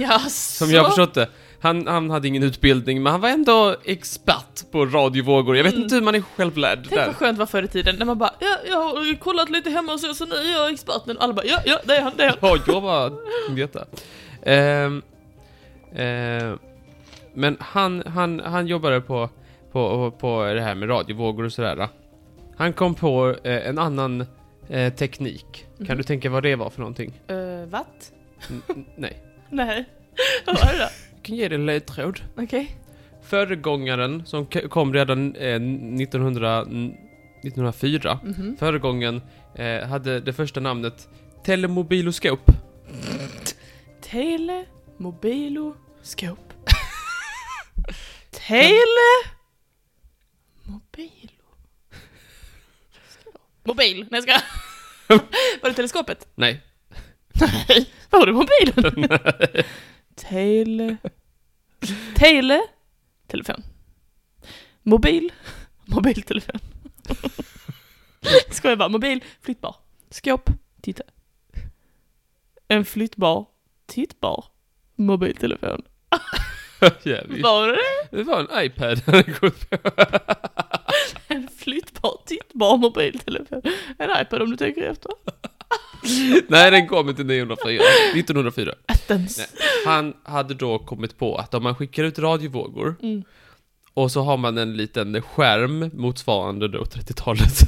Speaker 1: Jaså?
Speaker 2: Som jag förstått det. Han, han hade ingen utbildning, men han var ändå expert på radiovågor. Jag vet inte hur man är självlärd
Speaker 1: Mm. Tänk
Speaker 2: där.
Speaker 1: vad skönt det var förr i tiden, när man bara ja, jag har kollat lite hemma och så, så nu är jag experten. Alla bara ja, ja, det är han, det är han.
Speaker 2: Ja, jag var detta. Ehm, ehm, men han, han, han jobbade på, på, på det här med radiovågor och sådär. Han kom på eh, en annan eh, teknik. Kan du tänka vad det var för någonting?
Speaker 1: Uh, what?
Speaker 2: N- n- nej.
Speaker 1: Nej. Vad var det då?
Speaker 2: Jag kan ge dig en ledtråd.
Speaker 1: Okej.
Speaker 2: Föregångaren som k- kom redan eh, 1900, 1904
Speaker 1: Mhm.
Speaker 2: Föregången eh, hade det första namnet Telemobiloskop.
Speaker 1: Tele, mobilo, scope. Tele, mobilo. Mobil, nej jag ska. Var det teleskopet?
Speaker 2: Nej,
Speaker 1: Nej, var det mobilen? Tele, tele, telefon. Mobil, mobiltelefon. Skojar bara, mobil, flyttbar. Skåp, titta. En flyttbar, tittbar, mobiltelefon.
Speaker 2: jävligt.
Speaker 1: Var det det?
Speaker 2: Det var en iPad han hade gått på.
Speaker 1: En flyttbar, tittbar mobiltelefon. En iPad om du tänker efter.
Speaker 2: Nej, den kom inte 1904. 1904.
Speaker 1: Attens.
Speaker 2: Nej. Han hade då kommit på att om man skickar ut radiovågor
Speaker 1: Mm.
Speaker 2: och så har man en liten skärm motsvarande då 30-talet.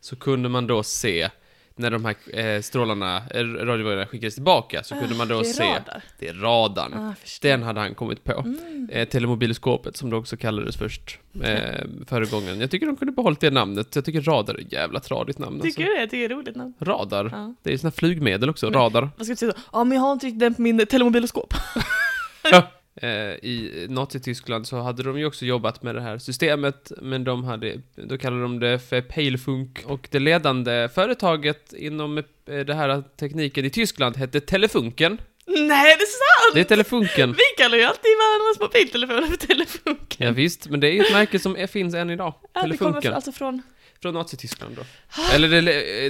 Speaker 2: Så kunde man då se när de här eh, strålarna, eh, radiovågorna skickades tillbaka så kunde man då
Speaker 1: Ah, Det är
Speaker 2: se,
Speaker 1: radar.
Speaker 2: det är radarn.
Speaker 1: Ah, förstår.
Speaker 2: Den hade han kommit på.
Speaker 1: Mm.
Speaker 2: Eh, telemobilskåpet som det också kallades först. Eh, förra gången. Jag tycker de kunde behållit det namnet. Jag tycker radar är ett jävla tradigt namn.
Speaker 1: Tycker du det? Jag tycker det är roligt namn.
Speaker 2: Alltså. Radar.
Speaker 1: Ja. Mm.
Speaker 2: Det är såna flygmedel också,
Speaker 1: Men-
Speaker 2: radar.
Speaker 1: Vad ska du säga då? Ja, men jag har inte riktigt den på min telemobiloskop.
Speaker 2: Eh, I Nazityskland så hade de ju också jobbat med det här systemet, men de hade, då kallade de det för Palefunk. Och det ledande företaget inom eh, det här tekniken i Tyskland hette Telefunken.
Speaker 1: Nej, det är sant!
Speaker 2: Det är Telefunken.
Speaker 1: Vi kallar ju alltid varandras mobiltelefoner för telefunken.
Speaker 2: Ja, visst, men det är ju ett märke som är- finns än idag.
Speaker 1: Ja, det kommer
Speaker 2: Telefunken.
Speaker 1: från- Ah. alltså från...
Speaker 2: Från Nazityskland då. Eller det,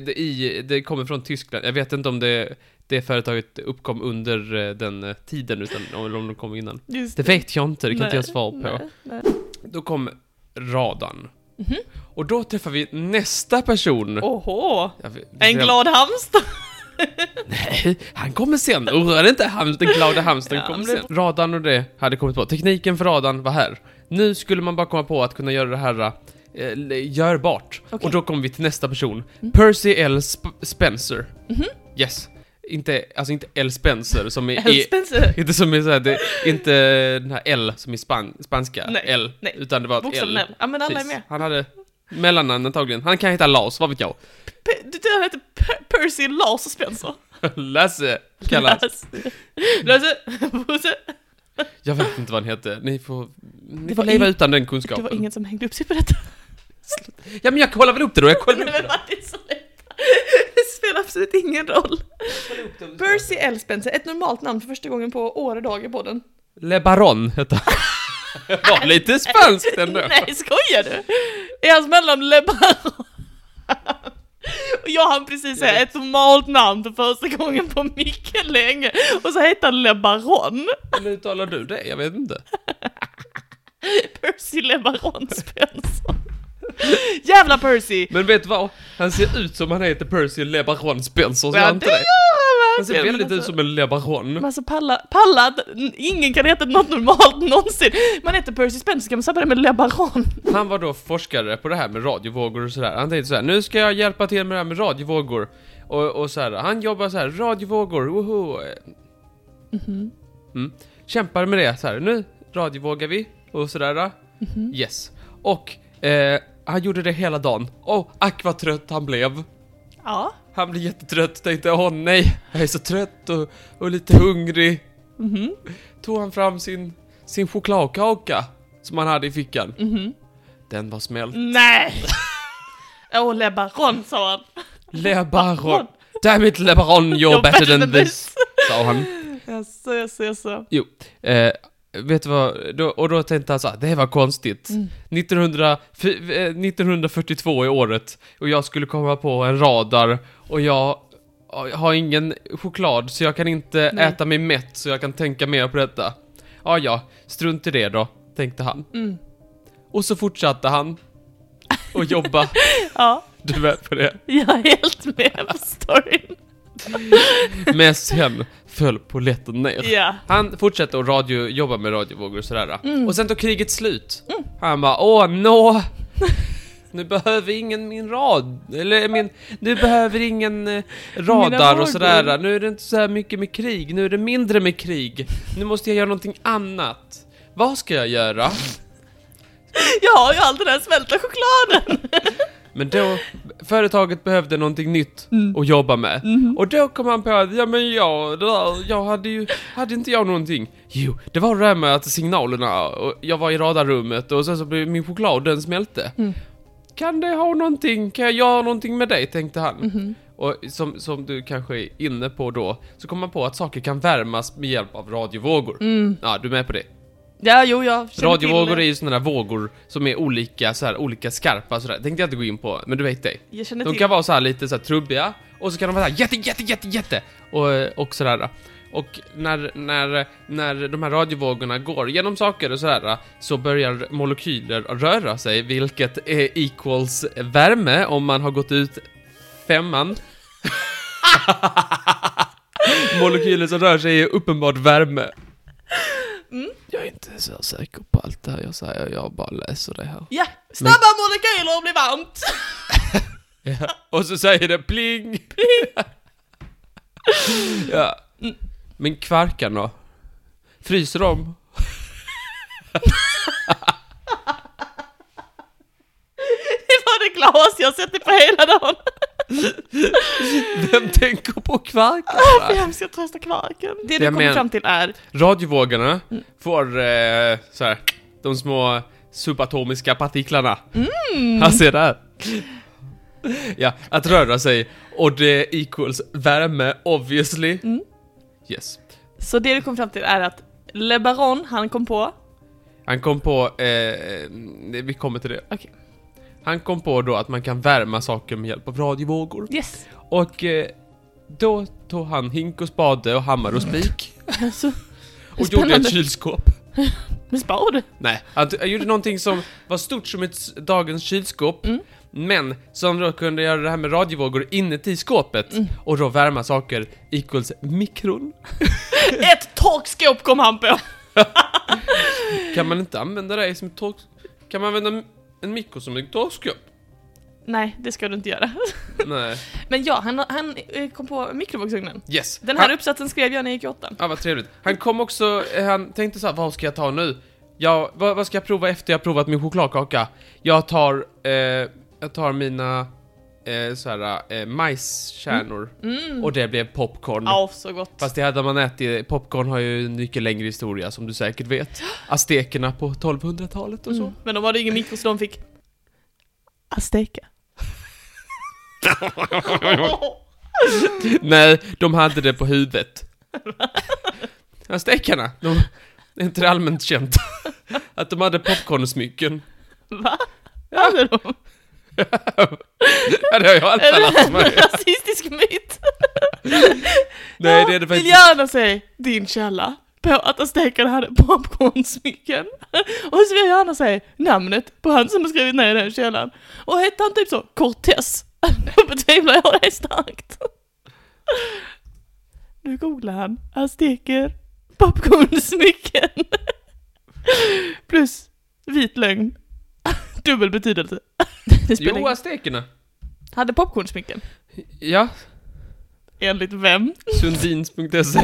Speaker 2: det, i, det kommer från Tyskland. Jag vet inte om det, det företaget uppkom under eh, den eh, tiden, utan eller om de kom innan.
Speaker 1: Just
Speaker 2: Det vet jag inte, det kan inte jag
Speaker 1: Nej,
Speaker 2: svara på.
Speaker 1: nej, nej.
Speaker 2: Då kom radarn.
Speaker 1: Mhm.
Speaker 2: Och då träffar vi nästa person.
Speaker 1: Oho!
Speaker 2: Jag vet-
Speaker 1: En
Speaker 2: jag-
Speaker 1: glad hamster!
Speaker 2: Nej, han kommer sen. Oroa dig inte, hamst, den glada hamstern
Speaker 1: Ja,
Speaker 2: kommer
Speaker 1: men det-
Speaker 2: sen. Radarn och det hade kommit på. Tekniken för radarn var här. Nu skulle man bara komma på att kunna göra det här eh, görbart.
Speaker 1: Okej. Mm.
Speaker 2: Och då kommer vi till nästa person. Percy L. Sp- Spencer.
Speaker 1: Mhm.
Speaker 2: Yes. Inte, alltså inte L. Spencer som är... är
Speaker 1: Spencer.
Speaker 2: inte som är såhär, det är inte den här L som är span, spanska,
Speaker 1: Nej,
Speaker 2: L.
Speaker 1: nej.
Speaker 2: Utan det var ett
Speaker 1: Bokstaven
Speaker 2: L.
Speaker 1: L. Ja, men alla är
Speaker 2: Precis.
Speaker 1: med.
Speaker 2: Han hade mellannamn antagligen. Han kan heta Lars, vad vet jag.
Speaker 1: Pe- Du tror han heter Per- Percy Lars och Spencer?
Speaker 2: Lasse kallas.
Speaker 1: Lasse. Lasse! Bosse.
Speaker 2: Jag vet inte vad han hette. Ni får, ni
Speaker 1: Det
Speaker 2: får
Speaker 1: var
Speaker 2: leva
Speaker 1: ing-
Speaker 2: utan den
Speaker 1: Det
Speaker 2: kunskapen.
Speaker 1: var ingen som hängde upp sig på detta.
Speaker 2: Ja, men jag kollar väl upp det då. Jag kollar
Speaker 1: Nej,
Speaker 2: upp
Speaker 1: men
Speaker 2: det.
Speaker 1: Martin, sluta. Det spelar absolut ingen roll. Percy L. Spencer, ett normalt namn för första gången på år och dag i podden.
Speaker 2: Le Baron hette han. Det var lite spanskt ändå.
Speaker 1: Nej, skojar du? Är hans mellannamn Le Baron? Och jag hann precis säga ett normalt namn för första gången på mycket länge och så hette han Le Baron.
Speaker 2: Eller uttalar du det? Jag vet inte.
Speaker 1: Percy Le Baron Spencer. Jävla Percy!
Speaker 2: Men vet du vad? Han ser ut som han heter Percy Le Baron Spencer, så
Speaker 1: Ja,
Speaker 2: han inte
Speaker 1: det
Speaker 2: det?
Speaker 1: gör
Speaker 2: Den ser
Speaker 1: verkligen. men
Speaker 2: väldigt ut
Speaker 1: alltså-
Speaker 2: som en
Speaker 1: Men
Speaker 2: lebaron.
Speaker 1: alltså palla, palla, att n- ingen kan heta något normalt någonsin. Man heter Percy Spencer, ska man sabba det med Le Baron?
Speaker 2: Han var då forskare på det här med radiovågor och sådär. Han tänkte såhär, nu ska jag hjälpa till med det här med radiovågor. Och, och såhär, han jobbar såhär, radiovågor, woho. Mm.
Speaker 1: Mhm,
Speaker 2: Kämpar med det såhär, nu radiovågar vi och sådär.
Speaker 1: mhm.
Speaker 2: Yes. Och eh, han gjorde det hela dagen. Och ack vad trött han blev.
Speaker 1: Ja.
Speaker 2: Han blev jättetrött, tänkte åh nej, jag är så trött och, och lite hungrig. Mm-hmm.
Speaker 1: Mhm,
Speaker 2: Tog han fram sin, sin chokladkaka som han hade i fickan.
Speaker 1: mhm.
Speaker 2: Den var smält.
Speaker 1: Nej! Åh, oh, Le Baron sa han.
Speaker 2: Le Baron. Damn it, Le Baron, you're better than this, sa han.
Speaker 1: Jaså, jaså, jaså.
Speaker 2: Eh, vet du vad, då, och då tänkte han så här, det här var konstigt.
Speaker 1: Mm.
Speaker 2: 1900, f- eh, 1942 är året och jag skulle komma på en radar och jag har ingen choklad så jag kan inte
Speaker 1: Nej.
Speaker 2: äta mig mätt så jag kan tänka mer på detta. Ja, ja, strunt i det då, tänkte han.
Speaker 1: Mm.
Speaker 2: Och så fortsatte han och jobba.
Speaker 1: Ja,
Speaker 2: du är med på det?
Speaker 1: jag är helt med på storyn.
Speaker 2: Men sen föll polletten ner.
Speaker 1: Ja.
Speaker 2: Han fortsatte att radio, jobba med radiovågor och sådär. Och sen tog kriget slut. Han bara åh nå! Nu behöver ingen min rad, eller min, nu behöver ingen eh, radar
Speaker 1: vågor.
Speaker 2: och sådär. Nu är det inte så här mycket med krig, nu är det mindre med krig. Nu måste jag göra någonting annat. Vad ska jag göra?
Speaker 1: Jag har ju all den här smälta chokladen.
Speaker 2: Men då, företaget behövde någonting nytt
Speaker 1: Mm.
Speaker 2: att jobba med.
Speaker 1: Mhm.
Speaker 2: Och då kom han på att, ja men jag, det där, jag hade ju, hade inte jag någonting? Jo, det var det där med att signalerna, och jag var i radarrummet och sen så blev min choklad, den smälte.
Speaker 1: Mm.
Speaker 2: Kan det ha någonting, kan jag göra någonting med dig, tänkte han.
Speaker 1: Mhm.
Speaker 2: Och som, som du kanske är inne på då, så kom man på att saker kan värmas med hjälp av radiovågor. Ja, du är med på det?
Speaker 1: Ja, jo, jag känner Mm. till
Speaker 2: Radiovågor är
Speaker 1: det.
Speaker 2: ju sådana där vågor som är olika, så här, olika skarpa sådär. Tänkte jag inte gå in på, men du vet det.
Speaker 1: Jag känner
Speaker 2: De
Speaker 1: till
Speaker 2: kan vara så här lite så här trubbiga och så kan de vara så här jätte, jätte, jätte, jätte och, och sådär. Och när, när, när de här radiovågorna går genom saker och sådär så börjar molekyler röra sig vilket är equals värme om man har gått ut femman. molekyler som rör sig är uppenbart värme.
Speaker 1: Mm.
Speaker 2: Jag är inte så säker på allt det här jag säger, jag bara läser det här.
Speaker 1: Ja, snabba molekyler blir varmt.
Speaker 2: Och så säger det pling! ja. Men kvarkan då? Fryser de?
Speaker 1: Det var det glas jag suttit på hela dagen.
Speaker 2: Vem tänker på
Speaker 1: Åh, för
Speaker 2: kvarkarna?
Speaker 1: jag ska trösta kvarken. Det du
Speaker 2: Jag
Speaker 1: kommer
Speaker 2: men-
Speaker 1: fram till är...
Speaker 2: Radiovågorna får eh, så här, de små subatomiska partiklarna. Mm. Han ser där. Ja, att röra sig och det equals värme obviously. Yes.
Speaker 1: Så det du kom fram till är att Le Baron, han kom på...
Speaker 2: Han kom på, eh, nej, vi kommer till det.
Speaker 1: Okej.
Speaker 2: Han kom på då att man kan värma saker med hjälp av radiovågor.
Speaker 1: Yes.
Speaker 2: Och eh, då tog han hink och spade och hammare och spik.
Speaker 1: Alltså,
Speaker 2: Och
Speaker 1: Spännande.
Speaker 2: gjorde ett kylskåp.
Speaker 1: men spar du?
Speaker 2: Nej, han t- han gjorde någonting som var stort som ett s- dagens kylskåp.
Speaker 1: Mm.
Speaker 2: Men som då kunde göra det här med radiovågor inuti skåpet.
Speaker 1: Mm.
Speaker 2: Och då värma saker equals mikron.
Speaker 1: Ett torkskåp kom han på!
Speaker 2: Kan man inte använda det som ett tork... Kan man använda en mikro som ett torkskåp?
Speaker 1: Nej, det ska du inte göra.
Speaker 2: Nej.
Speaker 1: Men ja, han, han eh, kom på mikrovågsugnen.
Speaker 2: Yes.
Speaker 1: Den här
Speaker 2: han,
Speaker 1: uppsatsen skrev jag när jag gick i åttan.
Speaker 2: Ja, vad trevligt. Han kom också, eh, han tänkte så här, vad ska jag ta nu? Ja, vad, vad ska jag prova efter jag provat min chokladkaka? Jag tar, eh, jag tar mina, eh, så här, eh, majskärnor. Och det blev popcorn.
Speaker 1: Ja, så gott.
Speaker 2: Mm. Fast det hade man ätit, popcorn har ju en mycket längre historia som du säkert vet. Aztekerna på 1200-talet och så.
Speaker 1: Mm. Men de hade ingen mikro så de fick... Azteca.
Speaker 2: Nej, de hade det på huvudet. Aztekerna, de, det är inte allmänt känt att de hade popcornsmycken.
Speaker 1: Va? Hade de?
Speaker 2: Ja, det har jag alltid
Speaker 1: Är det
Speaker 2: lärt
Speaker 1: en
Speaker 2: mig.
Speaker 1: rasistisk myt?
Speaker 2: Nej, det är det
Speaker 1: Vill
Speaker 2: faktiskt
Speaker 1: gärna se din källa på att aztekerna hade popcornsmycken. Och så vill jag gärna se namnet på han som har skrivit ner den källan. Och hette han typ så Cortez? Då betvivlar jag det starkt. Nu googlar han. Han steker popcornsmycken. Plus vit lögn. Dubbel betydelse. Det spelar ingen-
Speaker 2: Jo, aztekerna.
Speaker 1: Hade popcornsmycken.
Speaker 2: Ja,
Speaker 1: Enligt vem?
Speaker 2: sundins.se. E.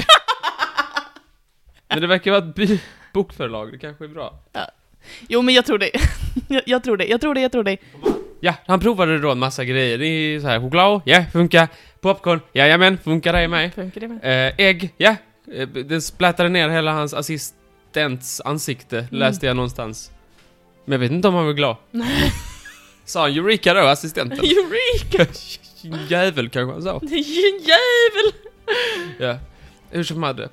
Speaker 2: Men det verkar vara ett by- bokförlag, det kanske är bra.
Speaker 1: Jo men jag tror det. Jag, jag tror det, jag tror det, jag tror det.
Speaker 2: Ja, han provade då en massa grejer. Det är så här, choklad, ja, funkar. Popcorn, jajamän, funkar det med.
Speaker 1: Funkar det med?
Speaker 2: Eh, ägg, ja. Eh, Den splattade ner hela hans assistents ansikte, läste jag någonstans. Men jag vet inte om han var glad. Sa han Eureka då, assistenten?
Speaker 1: Eureka!
Speaker 2: Jävel kanske han sa.
Speaker 1: Det är ju en jävel!
Speaker 2: Ja. Hur som hade.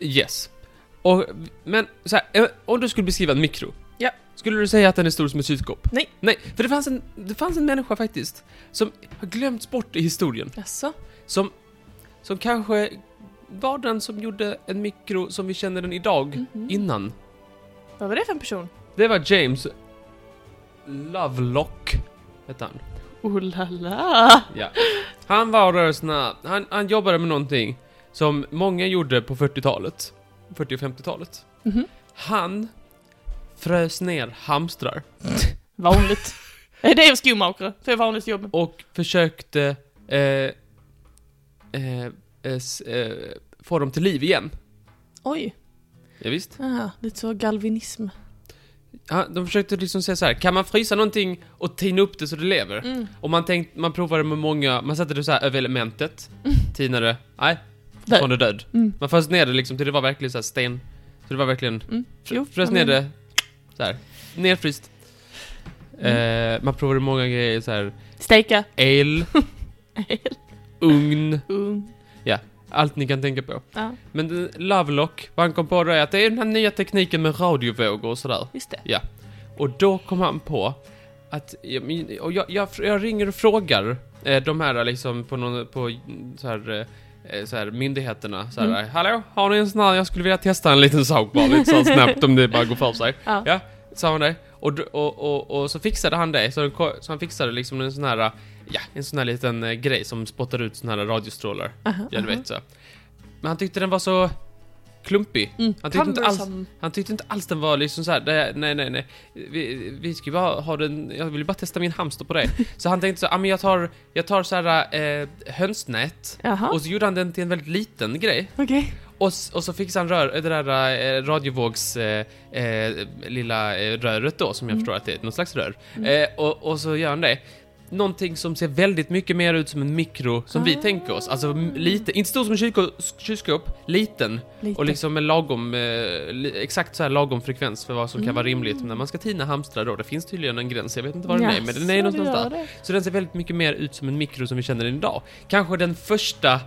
Speaker 2: Yes. Och, men så här, eh, om du skulle beskriva en mikro.
Speaker 1: Ja.
Speaker 2: Skulle du säga att den är stor som ett kylskåp?
Speaker 1: Nej.
Speaker 2: Nej, för det fanns en, det fanns en människa faktiskt som har glömts bort i historien.
Speaker 1: Jaså?
Speaker 2: Som, som kanske var den som gjorde en mikro som vi känner den idag,
Speaker 1: Mhm.
Speaker 2: innan.
Speaker 1: Vad var det för en person?
Speaker 2: Det var James Lovelock, hette han.
Speaker 1: Oh la la!
Speaker 2: Ja. Han var rörelserna, han, han jobbade med någonting som många gjorde på 40-talet. 40 och 50-talet.
Speaker 1: Mhm.
Speaker 2: Han frös ner hamstrar
Speaker 1: Vanligt. Eh, Det är en skomakare, det är vanligt jobb.
Speaker 2: och försökte eh, eh, eh, s- eh, få dem till liv igen.
Speaker 1: Oj,
Speaker 2: Ja, visst.
Speaker 1: ah, lite så galvinism.
Speaker 2: Han, de försökte liksom säga så här: kan man frysa någonting och tina upp det så det lever?
Speaker 1: Mm.
Speaker 2: Och man tänkte, man provade med många, man satte det så här över elementet, tinade, nej,
Speaker 1: Mm. Död.
Speaker 2: från det död.
Speaker 1: Mm.
Speaker 2: Man frös ner det liksom till det var verkligen så här sten. Så det var verkligen,
Speaker 1: Mm.
Speaker 2: fr-
Speaker 1: Jo,
Speaker 2: frös
Speaker 1: jag
Speaker 2: ner
Speaker 1: menar.
Speaker 2: det, så här, nerfryst.
Speaker 1: Mm.
Speaker 2: Eh, man provade många grejer så här.
Speaker 1: Steka.
Speaker 2: el, ugn,
Speaker 1: Ung.
Speaker 2: allt ni kan tänka på.
Speaker 1: Ja,
Speaker 2: Men eh, Lovelock, vad han kom på då är att det är den här nya tekniken med radiovågor och sådär.
Speaker 1: just det.
Speaker 2: Och då kom han på att, ja, men- och jag, jag, jag ringer och frågar eh, de här liksom på någon, på mm, så här, eh, så här myndigheterna så här,
Speaker 1: Mm.
Speaker 2: Hallå, har ni en sån här, jag skulle vilja testa en liten sak bara lite så här snabbt om det bara går för sig.
Speaker 1: Ja.
Speaker 2: Ja, sa han det. Och, d- och, och, och så fixade han det, så, så han fixade liksom en sån här, ja, en sån här liten eh, grej som spottar ut sån här radiostrålar.
Speaker 1: Aha,
Speaker 2: Ja, du
Speaker 1: aha.
Speaker 2: vet så. Men han tyckte den var så klumpig.
Speaker 1: Mm.
Speaker 2: Han tyckte inte alls-
Speaker 1: Cumbersome.
Speaker 2: Han tyckte inte alls den var liksom så här. "Nej, nej, nej, nej. Vi, vi ska ju bara ha den, jag vill ju bara testa min hamster på det. Så han tänkte så, ah, men jag tar, jag tar så här eh, hönsnät.
Speaker 1: Jaha,
Speaker 2: Och så gjorde han den till en väldigt liten grej.
Speaker 1: okej.
Speaker 2: Och, s- och så fixade han rör, det där eh, radiovågs eh, eh, lilla eh, röret då, som jag
Speaker 1: Mm.
Speaker 2: förstår att det är, något slags rör. Eh, och, och så gör han det. Någonting som ser väldigt mycket mer ut som en mikro, som vi
Speaker 1: Ah.
Speaker 2: tänker oss. Alltså m- lite, inte stor som en kylko- kylskåp, liten.
Speaker 1: Lite.
Speaker 2: Och liksom med lagom, eh, li- exakt så här lagom frekvens för vad som kan vara
Speaker 1: Mm.
Speaker 2: rimligt. Men när man ska tina hamstrar då, det finns tydligen en gräns, jag vet inte var den är, men den
Speaker 1: Jaså,
Speaker 2: är
Speaker 1: det
Speaker 2: någonstans där.
Speaker 1: gör det.
Speaker 2: Så den ser väldigt mycket mer ut som en mikro som vi känner den idag. Kanske den första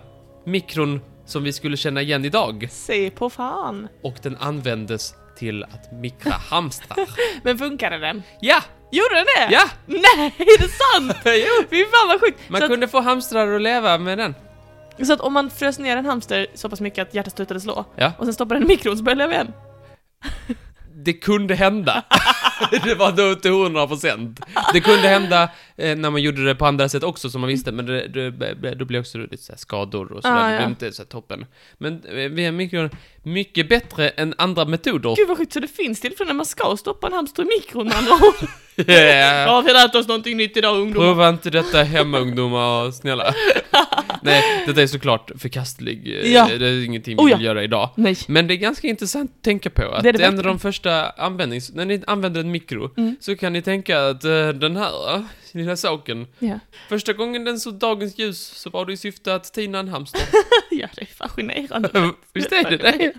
Speaker 2: mikron som vi skulle känna igen idag.
Speaker 1: Se på fan.
Speaker 2: Och den användes till att mikra hamstrar.
Speaker 1: Men funkade den?
Speaker 2: Ja!
Speaker 1: Gjorde den det?
Speaker 2: Ja!
Speaker 1: Nej, är det sant?
Speaker 2: Jo!
Speaker 1: Fy fan vad sjukt!
Speaker 2: Man
Speaker 1: så,
Speaker 2: kunde få hamstrar att leva med den.
Speaker 1: att, så att om man frös ner en hamster så pass mycket att hjärtat slutade slå
Speaker 2: Ja.
Speaker 1: och sen stoppade den i mikron så började den leva igen.
Speaker 2: det kunde hända. det var då inte 100 procent. Det kunde hända eh, när man gjorde det på andra sätt också som man visste, men det, det, det, då blev också lite så här skador och sådär.
Speaker 1: Ah,
Speaker 2: det blev
Speaker 1: ja.
Speaker 2: inte så här toppen. Men eh, vi är mycket, mycket bättre än andra metoder.
Speaker 1: Gud vad sjukt, så det finns tillfällen när man ska stoppa en hamster i mikron med andra ord.
Speaker 2: Yeah.
Speaker 1: Ja, vi har lärt oss någonting nytt idag ungdomar.
Speaker 2: Prova inte detta hemma ungdomar, snälla. Nej, detta är såklart förkastlig. eh,
Speaker 1: Ja.
Speaker 2: Det är ingenting vi
Speaker 1: Oh, ja.
Speaker 2: vill göra idag.
Speaker 1: Nej.
Speaker 2: Men det är ganska intressant att tänka på att
Speaker 1: Det är det
Speaker 2: en av
Speaker 1: verkligen.
Speaker 2: de första användnings... När ni använder en mikro
Speaker 1: Mm.
Speaker 2: så kan ni tänka att eh, den här eh, lilla saken,
Speaker 1: Ja.
Speaker 2: första gången den såg dagens ljus så var det i syfte att tina en hamster.
Speaker 1: ja, det är fascinerande.
Speaker 2: Visst är det det?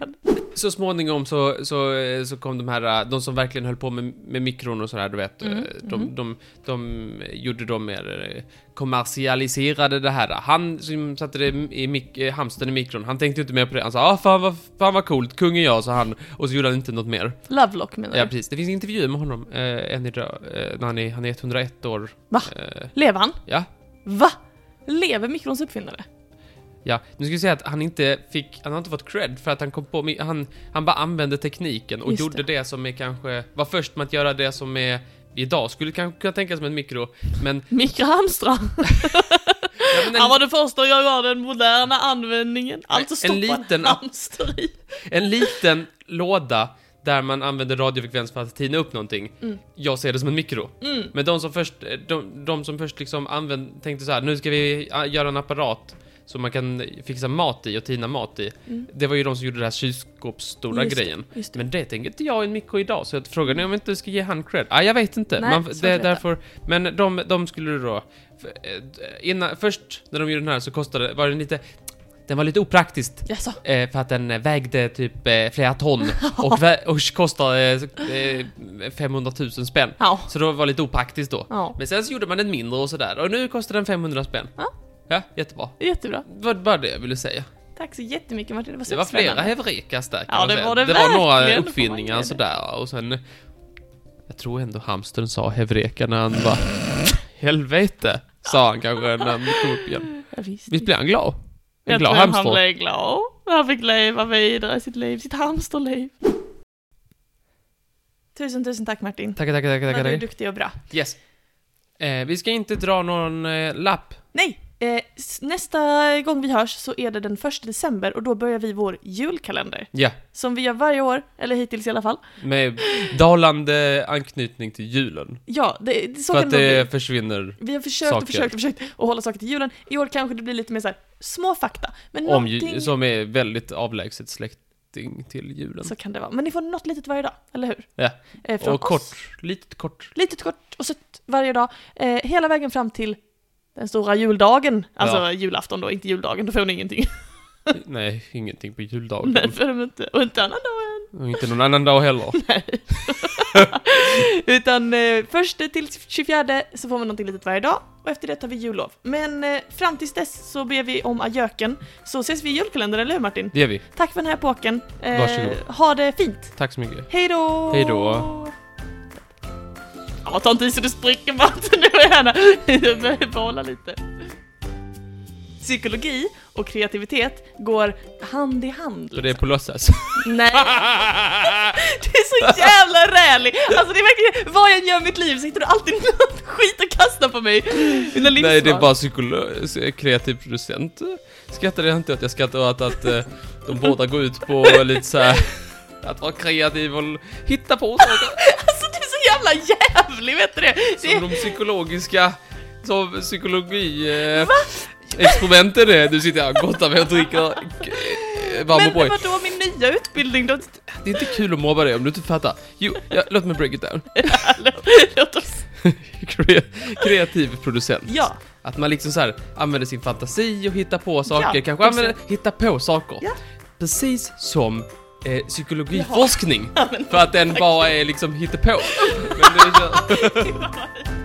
Speaker 2: Så småningom så, så, eh, så kom de här, eh, de som verkligen höll på med, med mikron och sådär, du vet. eh,
Speaker 1: Mm,
Speaker 2: De,
Speaker 1: mm.
Speaker 2: de, de gjorde de mer eh, kommersialiserade det här. Han som satte det i mik- eh, hamstern i mikron, han tänkte ju inte mer på det. Han sa ah, fan, vad, fan vad coolt, kung är jag, sa han. Och så gjorde han inte något mer.
Speaker 1: Lovelock menar du?
Speaker 2: Ja, precis. Det finns intervjuer med honom eh, än idag, eh, när han är, han är 101 år.
Speaker 1: Va?
Speaker 2: Eh,
Speaker 1: Lever han?
Speaker 2: ja.
Speaker 1: Va? Lever mikrons uppfinnare?
Speaker 2: Ja, nu ska vi säga att han inte fick, han har inte fått cred för att han kom på, mi- han, han bara använde tekniken och
Speaker 1: Just
Speaker 2: gjorde det. som är kanske, var först med att göra det som är idag, skulle kanske kunna tänkas som en mikro, men
Speaker 1: Mikrohamstrar?
Speaker 2: Ja, men
Speaker 1: Han
Speaker 2: en,
Speaker 1: var den första att göra den moderna användningen, alltså
Speaker 2: En
Speaker 1: stoppa
Speaker 2: liten app.
Speaker 1: hamster i.
Speaker 2: en liten låda där man använder radiofrekvens för att tina upp någonting. Jag ser det som en mikro.
Speaker 1: Mm.
Speaker 2: Men de som först, de, de som först liksom använde, tänkte så här, nu ska vi ah, göra en apparat som man kan fixa mat i och tina mat i. Det var ju de som gjorde den här kylskåpsstora
Speaker 1: Mm. Just det,
Speaker 2: grejen.
Speaker 1: just det.
Speaker 2: Men det tänker inte jag är en mikro idag, så jag frågar ni om vi inte ska ge han cred? Ah, jag vet inte.
Speaker 1: Nej,
Speaker 2: Man,
Speaker 1: svårt
Speaker 2: det är
Speaker 1: att veta.
Speaker 2: därför, men de, de skulle då... för, eh, Innan, först när de gjorde den här så kostade, var den lite... Den var lite opraktiskt
Speaker 1: Jaså?
Speaker 2: Eh, för att den eh, vägde typ eh, flera ton och, vä- och kostade eh, så- eh, 500 000 spänn.
Speaker 1: Ja.
Speaker 2: Så det var lite opraktiskt då.
Speaker 1: Ja.
Speaker 2: Men sen så gjorde man den mindre och sådär och nu kostar den 500 spänn.
Speaker 1: Ja.
Speaker 2: Ja, jättebra.
Speaker 1: Jättebra.
Speaker 2: Det var bara det jag ville säga.
Speaker 1: Tack så jättemycket Martin, det var så
Speaker 2: Det var flera
Speaker 1: spännande.
Speaker 2: hevrekas där kan
Speaker 1: Ja,
Speaker 2: man
Speaker 1: det
Speaker 2: säga.
Speaker 1: var det
Speaker 2: det var några
Speaker 1: verkligen,
Speaker 2: uppfinningar och
Speaker 1: får man
Speaker 2: sådär och sen... Jag tror ändå hamstern sa hevreka när han var... Helvete! Sa han kanske när han kom upp igen.
Speaker 1: Ja, visst.
Speaker 2: Visst blev han glad? En
Speaker 1: Jag
Speaker 2: glad
Speaker 1: tror han
Speaker 2: hamster.
Speaker 1: blev glad. Han fick leva vidare sitt liv, sitt hamsterliv. Tusen, tusen tack Martin.
Speaker 2: Tackar, tackar, tackar, tackar.
Speaker 1: Vad Du är
Speaker 2: tackar.
Speaker 1: duktig och bra.
Speaker 2: Yes. Eh, vi ska inte dra någon eh, lapp.
Speaker 1: Nej, eh, s- nästa gång vi hörs så är det den 1 december och då börjar vi vår julkalender.
Speaker 2: Ja.
Speaker 1: Som vi gör varje år, eller hittills i alla fall.
Speaker 2: Med dalande anknytning till julen.
Speaker 1: Ja, det, det, så
Speaker 2: för
Speaker 1: kan
Speaker 2: att
Speaker 1: det
Speaker 2: det
Speaker 1: nog bli.
Speaker 2: försvinner
Speaker 1: Vi har försökt
Speaker 2: saker.
Speaker 1: och försökt och försökt att hålla saker till julen. I år kanske det blir lite mer så här, små fakta. Men
Speaker 2: om
Speaker 1: någonting
Speaker 2: ju, som är väldigt avlägset släkting till julen.
Speaker 1: så kan det vara. Men ni får något litet varje dag, eller hur?
Speaker 2: Ja.
Speaker 1: Eh, från
Speaker 2: Och
Speaker 1: oss.
Speaker 2: kort, litet kort.
Speaker 1: litet kort och sött varje dag, eh, hela vägen fram till den stora juldagen. Alltså
Speaker 2: Ja.
Speaker 1: julafton då, inte juldagen, då får ni ingenting.
Speaker 2: Nej, ingenting på juldagen.
Speaker 1: Nej, för de inte, och inte annan dag
Speaker 2: Och inte någon annan dag heller.
Speaker 1: än. Utan eh, först till 24 så får man någonting litet varje dag och efter det tar vi jullov. Men eh, fram tills dess så ber vi om adjöken, så ses vi i julkalendern, eller hur Martin?
Speaker 2: Det gör vi.
Speaker 1: Tack för den här epoken. Eh,
Speaker 2: Varsågod.
Speaker 1: ha det fint.
Speaker 2: Tack så mycket.
Speaker 1: Hej då!
Speaker 2: Hej då.
Speaker 1: Ja, ta inte i så du spricker Martin, nu är jag Jag behöver behålla lite. Psykologi och kreativitet går hand i hand.
Speaker 2: Så det är på låtsas.
Speaker 1: Nej. Du är så jävla rälig! Alltså det är verkligen, vad jag än gör i mitt liv så hittar du alltid något skit att kasta på mig. Mina livsval.
Speaker 2: Nej, det är bara psykolog, eh, kreativ producent. Skrattar jag inte åt, jag skrattar åt att eh, de båda går ut på lite så här att vara kreativ och l- hitta på saker
Speaker 1: Alltså du är så jävla jävlig, vet du det? det
Speaker 2: som de psykologiska, som psykologi... Eh, experimenten är. Du sitter här och gottar mig och dricker eh, varm
Speaker 1: men
Speaker 2: O'boy.
Speaker 1: vadå min nya utbildning då?
Speaker 2: Det är inte kul att mobba dig om du inte fattar. Jo, ja, låt mig break it down.
Speaker 1: Låt oss...
Speaker 2: Kre- kreativ producent.
Speaker 1: Ja.
Speaker 2: Att man liksom så här använder sin fantasi och hittar på saker,
Speaker 1: Ja,
Speaker 2: kanske
Speaker 1: precis.
Speaker 2: använder, hittar på saker.
Speaker 1: Ja.
Speaker 2: Precis som eh, psykologiforskning.
Speaker 1: Ja, men-
Speaker 2: För att den bara är liksom hittepå. Men det är så-
Speaker 1: Det var-